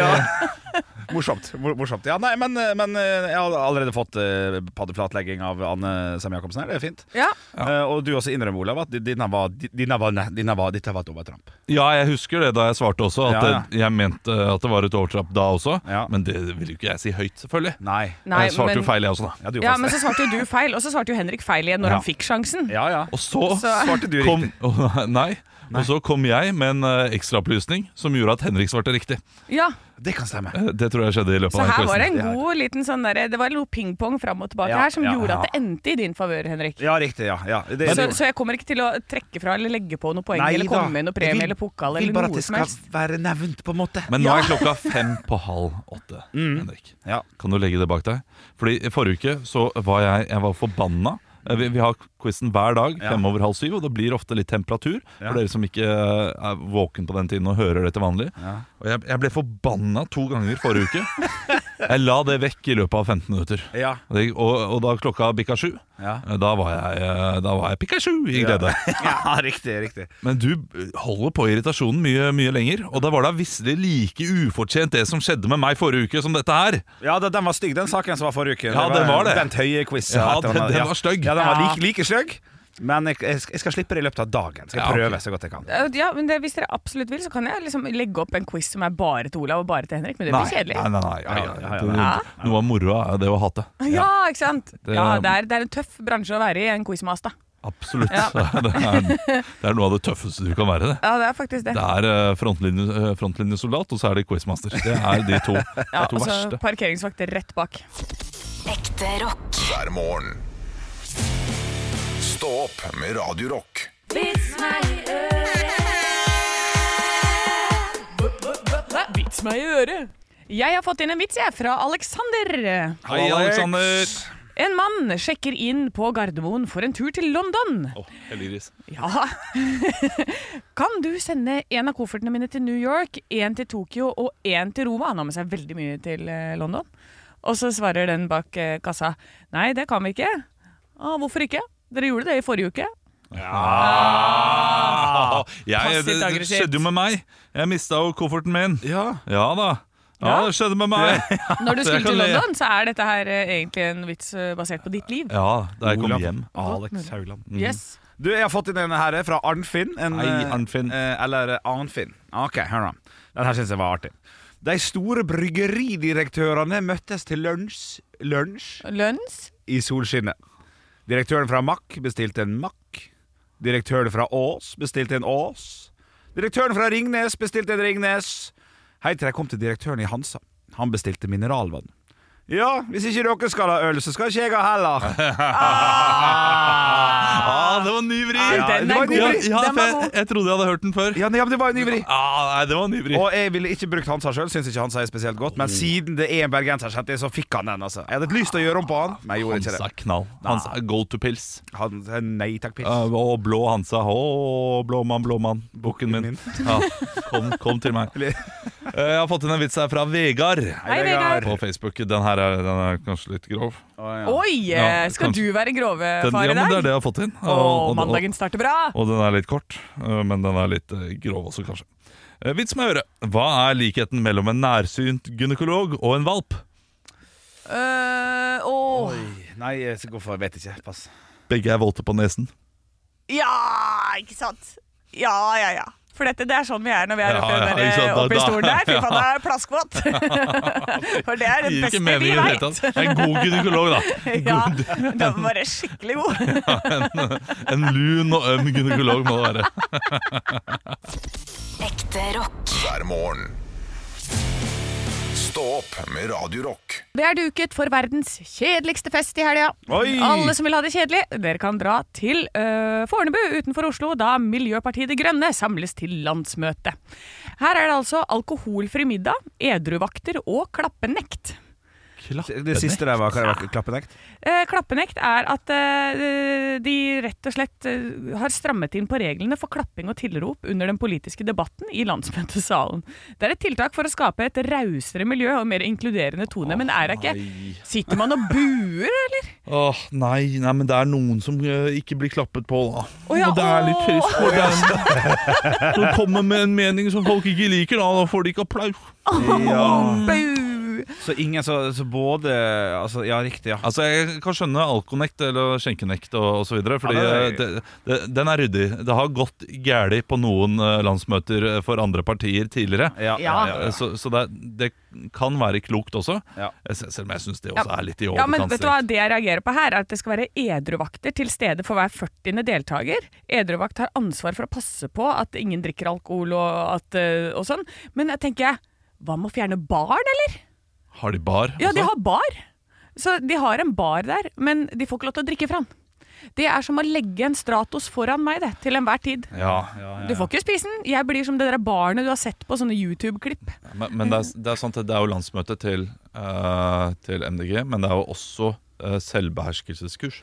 [SPEAKER 3] Morsomt. mor- morsomt. Ja, nei, men, men eh, jeg har allerede fått eh, paddeflatlegging av Anne Sem Jacobsen her. Det er fint.
[SPEAKER 2] Ja.
[SPEAKER 3] Eh, og du også innrømmer, Olav, at dine var, dine var, ne- dine var, dette var et overtramp.
[SPEAKER 6] Ja, jeg husker det da jeg svarte også, at
[SPEAKER 3] Ja, ja.
[SPEAKER 6] det- jeg mente at det var et overtrapp da også.
[SPEAKER 3] Ja.
[SPEAKER 6] Men det ville jo ikke jeg si høyt, selvfølgelig.
[SPEAKER 3] Nei.
[SPEAKER 2] Nei,
[SPEAKER 6] jeg svarte
[SPEAKER 2] men-
[SPEAKER 6] jo feil, jeg også, da.
[SPEAKER 3] Ja, du,
[SPEAKER 2] Ja,
[SPEAKER 3] faktisk.
[SPEAKER 2] men så svarte jo du feil, og så svarte jo Henrik feil igjen når
[SPEAKER 3] Ja.
[SPEAKER 2] han fikk sjansen.
[SPEAKER 3] ja, ja.
[SPEAKER 6] Og så,
[SPEAKER 2] Så-
[SPEAKER 3] Svarte du
[SPEAKER 6] kom
[SPEAKER 3] riktig?
[SPEAKER 6] Å, nei. Og så kom jeg med en eh, ekstraopplysning som gjorde at Henrik svarte riktig.
[SPEAKER 2] Ja,
[SPEAKER 3] Det kan stemme.
[SPEAKER 6] Eh, Det tror jeg skjedde i løpet
[SPEAKER 2] Så
[SPEAKER 6] av den
[SPEAKER 2] her var det
[SPEAKER 6] quizen.
[SPEAKER 2] en god liten sånn derre Det var noe pingpong fram og tilbake
[SPEAKER 3] Ja,
[SPEAKER 2] her som
[SPEAKER 3] ja,
[SPEAKER 2] gjorde
[SPEAKER 3] ja.
[SPEAKER 2] at det endte i din favør, Henrik.
[SPEAKER 3] Ja, riktig. Ja. ja. Det,
[SPEAKER 2] Så, så jeg kommer ikke til å trekke fra eller legge på noe poeng
[SPEAKER 3] Nei
[SPEAKER 2] eller
[SPEAKER 3] da.
[SPEAKER 2] komme med noe
[SPEAKER 3] Jeg
[SPEAKER 2] premie
[SPEAKER 3] vil-
[SPEAKER 2] eller pokal
[SPEAKER 3] vil
[SPEAKER 2] eller
[SPEAKER 3] bare at
[SPEAKER 2] noe
[SPEAKER 3] det
[SPEAKER 2] som
[SPEAKER 3] skal
[SPEAKER 2] helst.
[SPEAKER 3] være nevnt, på en måte.
[SPEAKER 6] Men nå er klokka fem på halv åtte, Henrik.
[SPEAKER 3] Ja.
[SPEAKER 6] Kan du legge det bak deg? Fordi i forrige uke så var jeg, jeg var forbanna. Eh, Vi, vi har quizen hver dag
[SPEAKER 3] Ja.
[SPEAKER 6] fem over halv syv. Og det blir ofte litt temperatur
[SPEAKER 3] Ja.
[SPEAKER 6] for dere som ikke eh, er våken på den tiden og hører det til vanlig.
[SPEAKER 3] Ja.
[SPEAKER 6] Og jeg, jeg ble forbanna to ganger forrige uke. Jeg la det vekk i løpet av 15 minutter.
[SPEAKER 3] Ja.
[SPEAKER 6] Og, det, og, og da klokka bikka sju,
[SPEAKER 3] Ja.
[SPEAKER 6] eh, da var jeg, eh, da var jeg Pikachu i
[SPEAKER 3] Ja.
[SPEAKER 6] glede.
[SPEAKER 3] ja, riktig. riktig
[SPEAKER 6] Men du holder på irritasjonen mye, mye lenger. Og da var da visselig like ufortjent det som skjedde med meg forrige uke, som dette her.
[SPEAKER 3] Ja, det- Den var stygg, den saken som var forrige uke.
[SPEAKER 6] Ja, den var det.
[SPEAKER 3] Bent Høie-quiz.
[SPEAKER 6] Ja,
[SPEAKER 3] et eller
[SPEAKER 6] den-
[SPEAKER 3] annet.
[SPEAKER 6] den var stygg.
[SPEAKER 3] Ja, den var
[SPEAKER 2] Ja.
[SPEAKER 3] like, like stygg. Men jeg, jeg skal- jeg skal slippe det i løpet av dagen. Skal
[SPEAKER 6] Ja, ok.
[SPEAKER 3] prøve så godt jeg kan.
[SPEAKER 2] Eh, Ja, men det, Hvis dere absolutt vil, så kan jeg liksom legge opp en quiz som er bare til Olav og bare til Henrik. Men det blir
[SPEAKER 6] Nei,
[SPEAKER 2] kjedelig.
[SPEAKER 6] nei, nei, nei,
[SPEAKER 3] Ja, ja, ja,
[SPEAKER 6] Det-
[SPEAKER 2] ja.
[SPEAKER 6] Noe av moroa er det å hate.
[SPEAKER 2] Ja, ikke sant?
[SPEAKER 6] Det-
[SPEAKER 2] ja, det, er, det er en tøff bransje å være i, en quizmaster.
[SPEAKER 6] Absolutt.
[SPEAKER 2] Ja.
[SPEAKER 6] Det, er, det er noe av det tøffeste du kan være. Det
[SPEAKER 2] Ja, det er faktisk det.
[SPEAKER 6] Det er eh, frontlinje, eh, frontlinjesoldat, og så er det quizmaster. Det er de to,
[SPEAKER 2] Ja, altså,
[SPEAKER 6] de to
[SPEAKER 2] og så
[SPEAKER 6] verste.
[SPEAKER 2] parkeringsvakter rett bak.
[SPEAKER 5] Ekte rock.
[SPEAKER 1] hver morgen. Stå opp med Radio Rock.
[SPEAKER 2] Vits meg i øret! Jeg har fått inn en vits, jeg, fra Alexander.
[SPEAKER 6] Hei, Alexander!
[SPEAKER 2] En mann sjekker inn på Gardermoen for en tur til London.
[SPEAKER 6] Å, heldiggris.
[SPEAKER 2] Ja. kan du sende en av koffertene mine til New York, en til Tokyo og en til Roma? Han har med seg veldig mye til eh, London. Og så svarer den bak eh, kassa nei, det kan vi ikke. «Å, hvorfor ikke? Dere gjorde det i forrige uke.
[SPEAKER 6] Ah, jeg, det,
[SPEAKER 2] Passivt
[SPEAKER 6] det
[SPEAKER 2] aggressivt.
[SPEAKER 6] skjedde jo med meg. Jeg mista jo kofferten min.
[SPEAKER 3] Ja.
[SPEAKER 6] Ja da.
[SPEAKER 2] Ja.
[SPEAKER 6] Ja, det skjedde med meg.
[SPEAKER 2] Når du
[SPEAKER 6] Jeg
[SPEAKER 2] skulle til
[SPEAKER 6] kan le.
[SPEAKER 2] London, så er dette her eh, egentlig en vits eh, basert på ditt liv.
[SPEAKER 6] Ja, Mm. da jeg kom
[SPEAKER 3] Olav
[SPEAKER 6] hjem.
[SPEAKER 3] Ah, Alex Haugland.
[SPEAKER 2] Yes.
[SPEAKER 3] Du, Jeg har fått inn en her fra Arnfinn. En,
[SPEAKER 6] Hei,
[SPEAKER 3] eh,
[SPEAKER 6] Arnfinn.
[SPEAKER 3] eh, Eller eh, Arnfinn. Ok, hør da. Den her syns jeg var artig. De store bryggeridirektørene møttes til lunsj, lunsj
[SPEAKER 2] Lønns?
[SPEAKER 3] i solskinnet. Direktøren fra Mack bestilte en Mack. Direktøren fra Ås bestilte en Ås. Direktøren fra Ringnes bestilte en Ringnes. Hei til jeg kom til direktøren i Hansa. Han bestilte mineralvann. Ja, hvis ikke dere skal ha øl, så skal ikke jeg ha heller.
[SPEAKER 6] Ah, det var en ny vri!
[SPEAKER 2] Nei,
[SPEAKER 3] den er
[SPEAKER 6] det var en ny
[SPEAKER 3] god.
[SPEAKER 6] vri. Ja,
[SPEAKER 2] Den
[SPEAKER 6] for
[SPEAKER 2] var
[SPEAKER 6] jeg,
[SPEAKER 2] god.
[SPEAKER 6] jeg trodde jeg hadde hørt den før.
[SPEAKER 3] Ja, men- ja, men det var en ivrig.
[SPEAKER 6] Ah, nei, det var en ny vri.
[SPEAKER 3] Og jeg ville ikke brukt Hansa sjøl, syns ikke Hansa er spesielt godt. Men siden det er en bergenserkjente, så fikk han den, altså. Jeg hadde lyst til å gjøre om på han, men jeg gjorde ikke
[SPEAKER 6] Hansa
[SPEAKER 3] det.
[SPEAKER 6] knall. Hansa go to pils.
[SPEAKER 3] Han, nei takk, piss.
[SPEAKER 6] Uh, og blå Hansa. Å, blå mann, blå mann. Bukken min. Ja, kom, kom til meg.
[SPEAKER 3] Eller-
[SPEAKER 6] Eh, jeg har fått inn en vits her fra Vegard
[SPEAKER 2] Hei, Vegard.
[SPEAKER 6] på Facebook. Den her er, den er kanskje litt grov.
[SPEAKER 3] Å, ja.
[SPEAKER 2] Oi! eh,
[SPEAKER 6] Ja,
[SPEAKER 2] skal
[SPEAKER 6] kanskje.
[SPEAKER 2] du være grove
[SPEAKER 6] Den,
[SPEAKER 2] Eh, far
[SPEAKER 6] ja,
[SPEAKER 2] i
[SPEAKER 6] men det er
[SPEAKER 2] dag?
[SPEAKER 6] det jeg har fått inn.
[SPEAKER 2] Å,
[SPEAKER 6] Og- og- og-
[SPEAKER 2] mandagen starter bra!
[SPEAKER 6] Og den er litt kort, øh, men den er litt øh, grov også, kanskje. Eh, Vits med øret. Hva er likheten mellom en nærsynt gynekolog og en valp?
[SPEAKER 2] Øh, åh.
[SPEAKER 3] Nei, jeg skal gå for Vet ikke. Pass.
[SPEAKER 6] Begge er voldte på nesen.
[SPEAKER 2] Ja, ikke sant? Ja, ja, ja. For dette, det er sånn vi er når vi er
[SPEAKER 6] Ja,
[SPEAKER 2] oppe, i den
[SPEAKER 6] ja, ikke
[SPEAKER 2] der,
[SPEAKER 6] sant? Da-
[SPEAKER 2] oppe i
[SPEAKER 6] da-
[SPEAKER 2] stolen der. Fy faen, det er plaskvått! For det er det
[SPEAKER 6] Gir ikke
[SPEAKER 2] beste vi
[SPEAKER 6] mening i det
[SPEAKER 2] veit.
[SPEAKER 6] hele tatt. En god gynekolog, da.
[SPEAKER 2] Ja, den var bare skikkelig god.
[SPEAKER 6] En lun og øm gynekolog må det være.
[SPEAKER 5] Ekte rock.
[SPEAKER 1] hver morgen. Stå opp med Radio Rock.
[SPEAKER 2] Vi er duket for verdens kjedeligste fest i helga.
[SPEAKER 3] Oi!
[SPEAKER 2] Alle som vil ha det kjedelig, dere kan dra til øh, Fornebu utenfor Oslo, da Miljøpartiet De Grønne samles til landsmøte. Her er det altså alkoholfri middag, edruvakter og klappenekt.
[SPEAKER 3] Det siste der var, hva det var klappenekt?
[SPEAKER 2] Eh, klappenekt er at eh, de rett og slett eh, har strammet inn på reglene for klapping og tilrop under den politiske debatten i landsmøtesalen. Det er et tiltak for å skape et rausere miljø og mer inkluderende tone, men er det ikke Sitter man og buer, eller?
[SPEAKER 6] Åh, nei, nei, men det er noen som øh, ikke blir klappet på, da.
[SPEAKER 2] Å ja,
[SPEAKER 6] og det er litt
[SPEAKER 2] åh.
[SPEAKER 6] trist. for dem. Som kommer med en mening som folk ikke liker, da. Da får de ikke applaus.
[SPEAKER 3] Ja.
[SPEAKER 2] Bu!
[SPEAKER 3] Så ingen så, så både altså, Ja, riktig, ja.
[SPEAKER 6] Altså, Jeg kan skjønne alkonekt eller skjenkenekt og osv. Fordi
[SPEAKER 3] Ja,
[SPEAKER 6] ja,
[SPEAKER 3] det
[SPEAKER 6] det, det, den er ryddig. Det har gått gæli på noen eh, landsmøter eh, for andre partier tidligere.
[SPEAKER 3] Ja, ja, ja,
[SPEAKER 6] Eh,
[SPEAKER 3] ja.
[SPEAKER 6] Så, så det, er- det kan være klokt også,
[SPEAKER 3] Ja.
[SPEAKER 6] Eh, se- selv om jeg syns det
[SPEAKER 2] Ja.
[SPEAKER 6] også er litt i
[SPEAKER 2] Ja, men
[SPEAKER 6] overkant.
[SPEAKER 2] vet du hva det jeg reagerer på her, er at det skal være edruvakter til stede for hver 40. deltaker. Edruvakt har ansvar for å passe på at ingen drikker alkohol og, at, eh, og sånn. Men jeg tenker jeg, hva med å fjerne barn, eller?
[SPEAKER 6] Har de bar?
[SPEAKER 2] Ja, de
[SPEAKER 6] også?
[SPEAKER 2] har bar. Så de har en bar der, men de får ikke lov til å drikke fra den. Det er som å legge en Stratos foran meg det, til enhver tid.
[SPEAKER 6] ja.
[SPEAKER 2] Du får ikke spise den. Jeg blir som det der barnet du har sett på sånne YouTube-klipp.
[SPEAKER 6] Men, men det, er, det er sant, at det er jo landsmøte til, eh, til MDG, men det er jo også eh, selvbeherskelseskurs.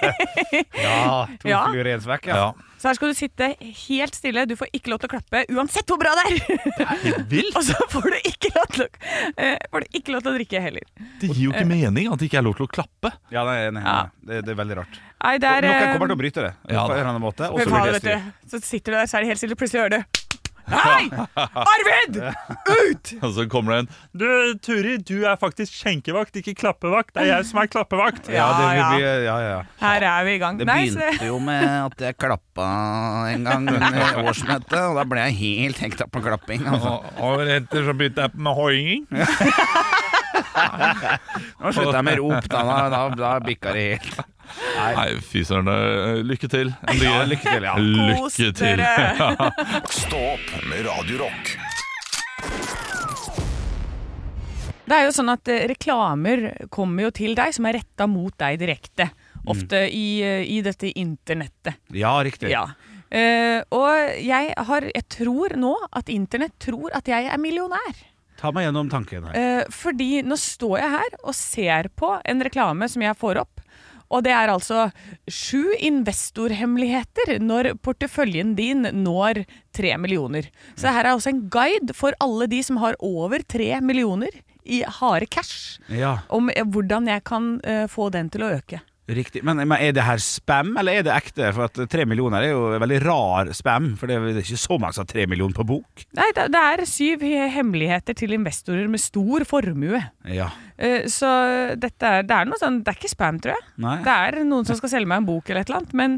[SPEAKER 3] Ja, to
[SPEAKER 2] Ja.
[SPEAKER 3] fluer i en svekk, ja.
[SPEAKER 6] Ja.
[SPEAKER 2] Så her skal du sitte helt stille, du får ikke lov til å klappe uansett hvor bra det er!
[SPEAKER 6] Vilt!
[SPEAKER 2] Og så får du ikke lov til å, eh, får du ikke lov til å drikke heller.
[SPEAKER 6] Det gir jo ikke
[SPEAKER 2] Eh.
[SPEAKER 6] mening at det ikke er lov til å klappe.
[SPEAKER 3] Ja, nei, nei, nei,
[SPEAKER 2] Ja.
[SPEAKER 3] Det, det er veldig rart.
[SPEAKER 2] Nei, det er
[SPEAKER 3] Noen
[SPEAKER 2] eh,
[SPEAKER 3] kommer til å bryte det.
[SPEAKER 6] Ja,
[SPEAKER 3] på en
[SPEAKER 6] da.
[SPEAKER 3] eller annen måte, og
[SPEAKER 2] fy
[SPEAKER 3] så
[SPEAKER 2] faen,
[SPEAKER 3] blir
[SPEAKER 2] vet
[SPEAKER 3] det styr.
[SPEAKER 2] du. Så sitter du der, så er det helt stille, plutselig hører du Hei! Arvid! Ut!
[SPEAKER 6] Og så kommer det en Du, Turi, du er faktisk skjenkevakt, ikke klappevakt. Det er jeg som er klappevakt.
[SPEAKER 3] Ja, det
[SPEAKER 2] Ja,
[SPEAKER 3] vil bli, ja, ja.
[SPEAKER 2] Her er vi i gang.
[SPEAKER 8] Det
[SPEAKER 2] Nei, så-
[SPEAKER 8] begynte jo med at jeg klappa en gang under årsmøtet, og da ble jeg helt hekta på klapping. Altså.
[SPEAKER 6] Året etter så begynte jeg med hoiing.
[SPEAKER 8] Nå slutta jeg med rop, da, da, da, da bikka det helt.
[SPEAKER 6] Nei, fy søren. eh, Lykke til. MDG.
[SPEAKER 3] Ja, lykke til, ja.
[SPEAKER 2] Kos
[SPEAKER 6] Lykke til.
[SPEAKER 2] dere.
[SPEAKER 1] Stå opp med Radio Rock.
[SPEAKER 2] Det er jo sånn at eh, reklamer kommer jo til deg som er retta mot deg direkte. Ofte i, eh, i dette internettet.
[SPEAKER 3] Ja, riktig.
[SPEAKER 2] Ja. Eh, og jeg, har, jeg tror nå at internett tror at jeg er millionær.
[SPEAKER 3] Ta meg gjennom tanken her.
[SPEAKER 2] Eh, fordi nå står jeg her og ser på en reklame som jeg får opp. Og det er altså sju investorhemmeligheter når porteføljen din når tre millioner. Så her er også en guide for alle de som har over tre millioner i harde cash.
[SPEAKER 3] Ja,
[SPEAKER 2] Om eh, hvordan jeg kan eh, få den til å øke.
[SPEAKER 3] riktig. Men, men er det her spam, eller er det ekte? For at tre millioner er jo veldig rar spam, for det er ikke så mange som har tre millioner på bok.
[SPEAKER 2] Nei, det det er syv he- hemmeligheter til investorer med stor formue.
[SPEAKER 3] Ja.
[SPEAKER 2] Eh, Så dette er, det er noe sånn, det er ikke spam, tror jeg.
[SPEAKER 3] Nei.
[SPEAKER 2] Det er noen som skal selge meg en bok eller et eller annet, men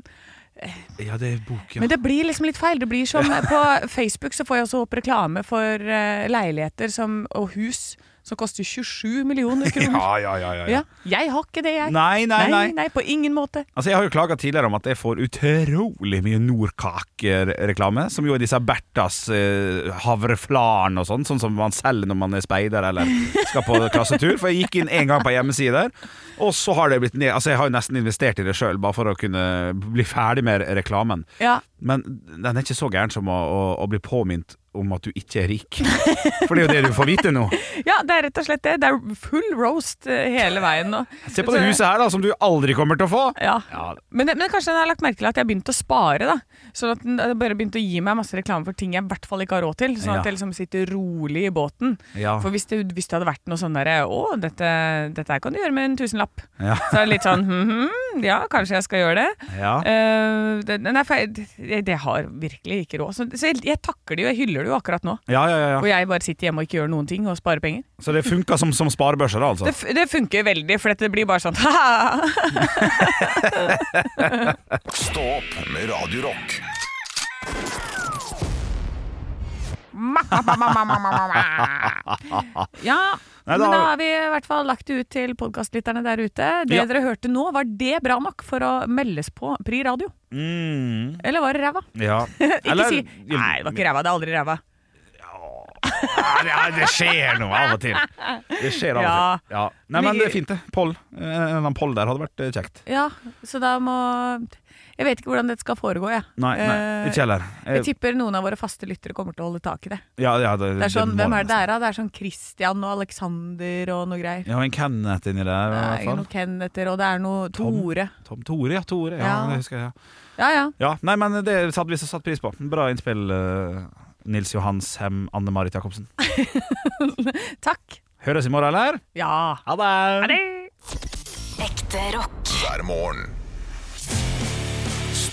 [SPEAKER 3] Ja, det er bok, ja.
[SPEAKER 2] Men det blir liksom litt feil. Det blir som På Facebook så får jeg også opp reklame for eh, leiligheter som, og hus som koster 27 millioner kroner.
[SPEAKER 3] Ja, ja, ja, ja, ja.
[SPEAKER 2] Ja, jeg har ikke det, jeg.
[SPEAKER 3] Nei, nei, nei.
[SPEAKER 2] På ingen måte.
[SPEAKER 3] Altså, Jeg har jo klaga tidligere om at jeg får utrolig mye Nordkake-reklame. Som jo er disse Berthas eh, havreflaren og sånn, sånn som man selger når man er speider eller skal på klassetur. For jeg gikk inn én gang på hjemmesida der, og så har det blitt ned Altså, jeg har jo nesten investert i det sjøl, bare for å kunne bli ferdig med reklamen.
[SPEAKER 2] Ja.
[SPEAKER 3] Men den er ikke så gæren som å, å, å bli påminnet om at du ikke er rik. For det er jo det du får vite nå.
[SPEAKER 2] ja, det er rett og slett det. Det er full roast eh, hele veien nå.
[SPEAKER 3] Se på det huset her, da, som du aldri kommer til å få.
[SPEAKER 2] Ja.
[SPEAKER 3] Ja,
[SPEAKER 2] Men, men kanskje den har lagt merke til at jeg har begynt å spare. da Sånn at den den bare begynte å gi meg masse reklame for ting jeg i hvert fall ikke har råd til. Sånn
[SPEAKER 3] Ja.
[SPEAKER 2] at jeg liksom sitter rolig i båten.
[SPEAKER 3] Ja.
[SPEAKER 2] For hvis det, hvis det hadde vært noe sånn derre Å, dette, dette her kan du gjøre med en tusenlapp.
[SPEAKER 3] Ja.
[SPEAKER 2] Så er det litt sånn hm, hm, Ja, kanskje jeg skal gjøre det.
[SPEAKER 3] ja.
[SPEAKER 2] Eh, det, nei, for jeg, det, det har virkelig ikke råd. Så, så jeg, jeg takker det jo, jeg hyller det jo akkurat nå.
[SPEAKER 3] ja, ja, ja,
[SPEAKER 2] Hvor
[SPEAKER 3] ja.
[SPEAKER 2] jeg bare sitter hjemme og ikke gjør noen ting og sparer penger.
[SPEAKER 3] Så det funka som, som sparebørse, da, altså?
[SPEAKER 2] Det, f- det funker veldig, for dette blir bare sånn ha-ha.
[SPEAKER 1] Stå opp med Radio Rock.
[SPEAKER 2] Ja,
[SPEAKER 3] Nei, da
[SPEAKER 2] men da
[SPEAKER 3] har vi-
[SPEAKER 2] har vi i hvert fall lagt det ut til podkastlytterne der ute. Det
[SPEAKER 3] Ja.
[SPEAKER 2] dere hørte nå, var det bra nok for å meldes på Pri radio?
[SPEAKER 3] Mm.
[SPEAKER 2] Eller var det ræva?
[SPEAKER 3] Ja.
[SPEAKER 2] Ikke si Nei, det var ikke ræva. Det er aldri ræva.
[SPEAKER 3] det, det skjer noe av og til. Det skjer av
[SPEAKER 2] Ja.
[SPEAKER 3] og til. Ja. Nei, men det er fint, det. Poll. Eh, En eller annen poll der hadde vært eh, kjekt.
[SPEAKER 2] Ja, så da må Jeg vet ikke hvordan dette skal foregå, jeg.
[SPEAKER 3] Nei, nei
[SPEAKER 2] Eh,
[SPEAKER 3] ikke heller. Eh,
[SPEAKER 2] Jeg tipper noen av våre faste lyttere kommer til å holde tak i det.
[SPEAKER 3] Ja, ja, det,
[SPEAKER 2] Det er sånn,
[SPEAKER 3] må
[SPEAKER 2] Hvem er det det
[SPEAKER 3] nesten.
[SPEAKER 2] er av? Det er sånn Christian og Alexander og noe greier.
[SPEAKER 3] Ja, en Kenneth inni der, i
[SPEAKER 2] Det er
[SPEAKER 3] hvert fall.
[SPEAKER 2] noe Kennether, og det er noe
[SPEAKER 3] Tom.
[SPEAKER 2] Tore.
[SPEAKER 3] Tom Tore, ja. Tore, ja,
[SPEAKER 2] Ja.
[SPEAKER 3] Det husker jeg. Ja.
[SPEAKER 2] Ja ja.
[SPEAKER 3] ja nei, men det satte vi så satt pris på. Bra innspill, eh, Nils Johanshem, Anne-Marit Jacobsen.
[SPEAKER 2] Takk.
[SPEAKER 3] Høres i morgen, eller?
[SPEAKER 2] Ja.
[SPEAKER 3] Ha det!
[SPEAKER 2] Ha det!
[SPEAKER 5] Ekte rock.
[SPEAKER 1] hver morgen.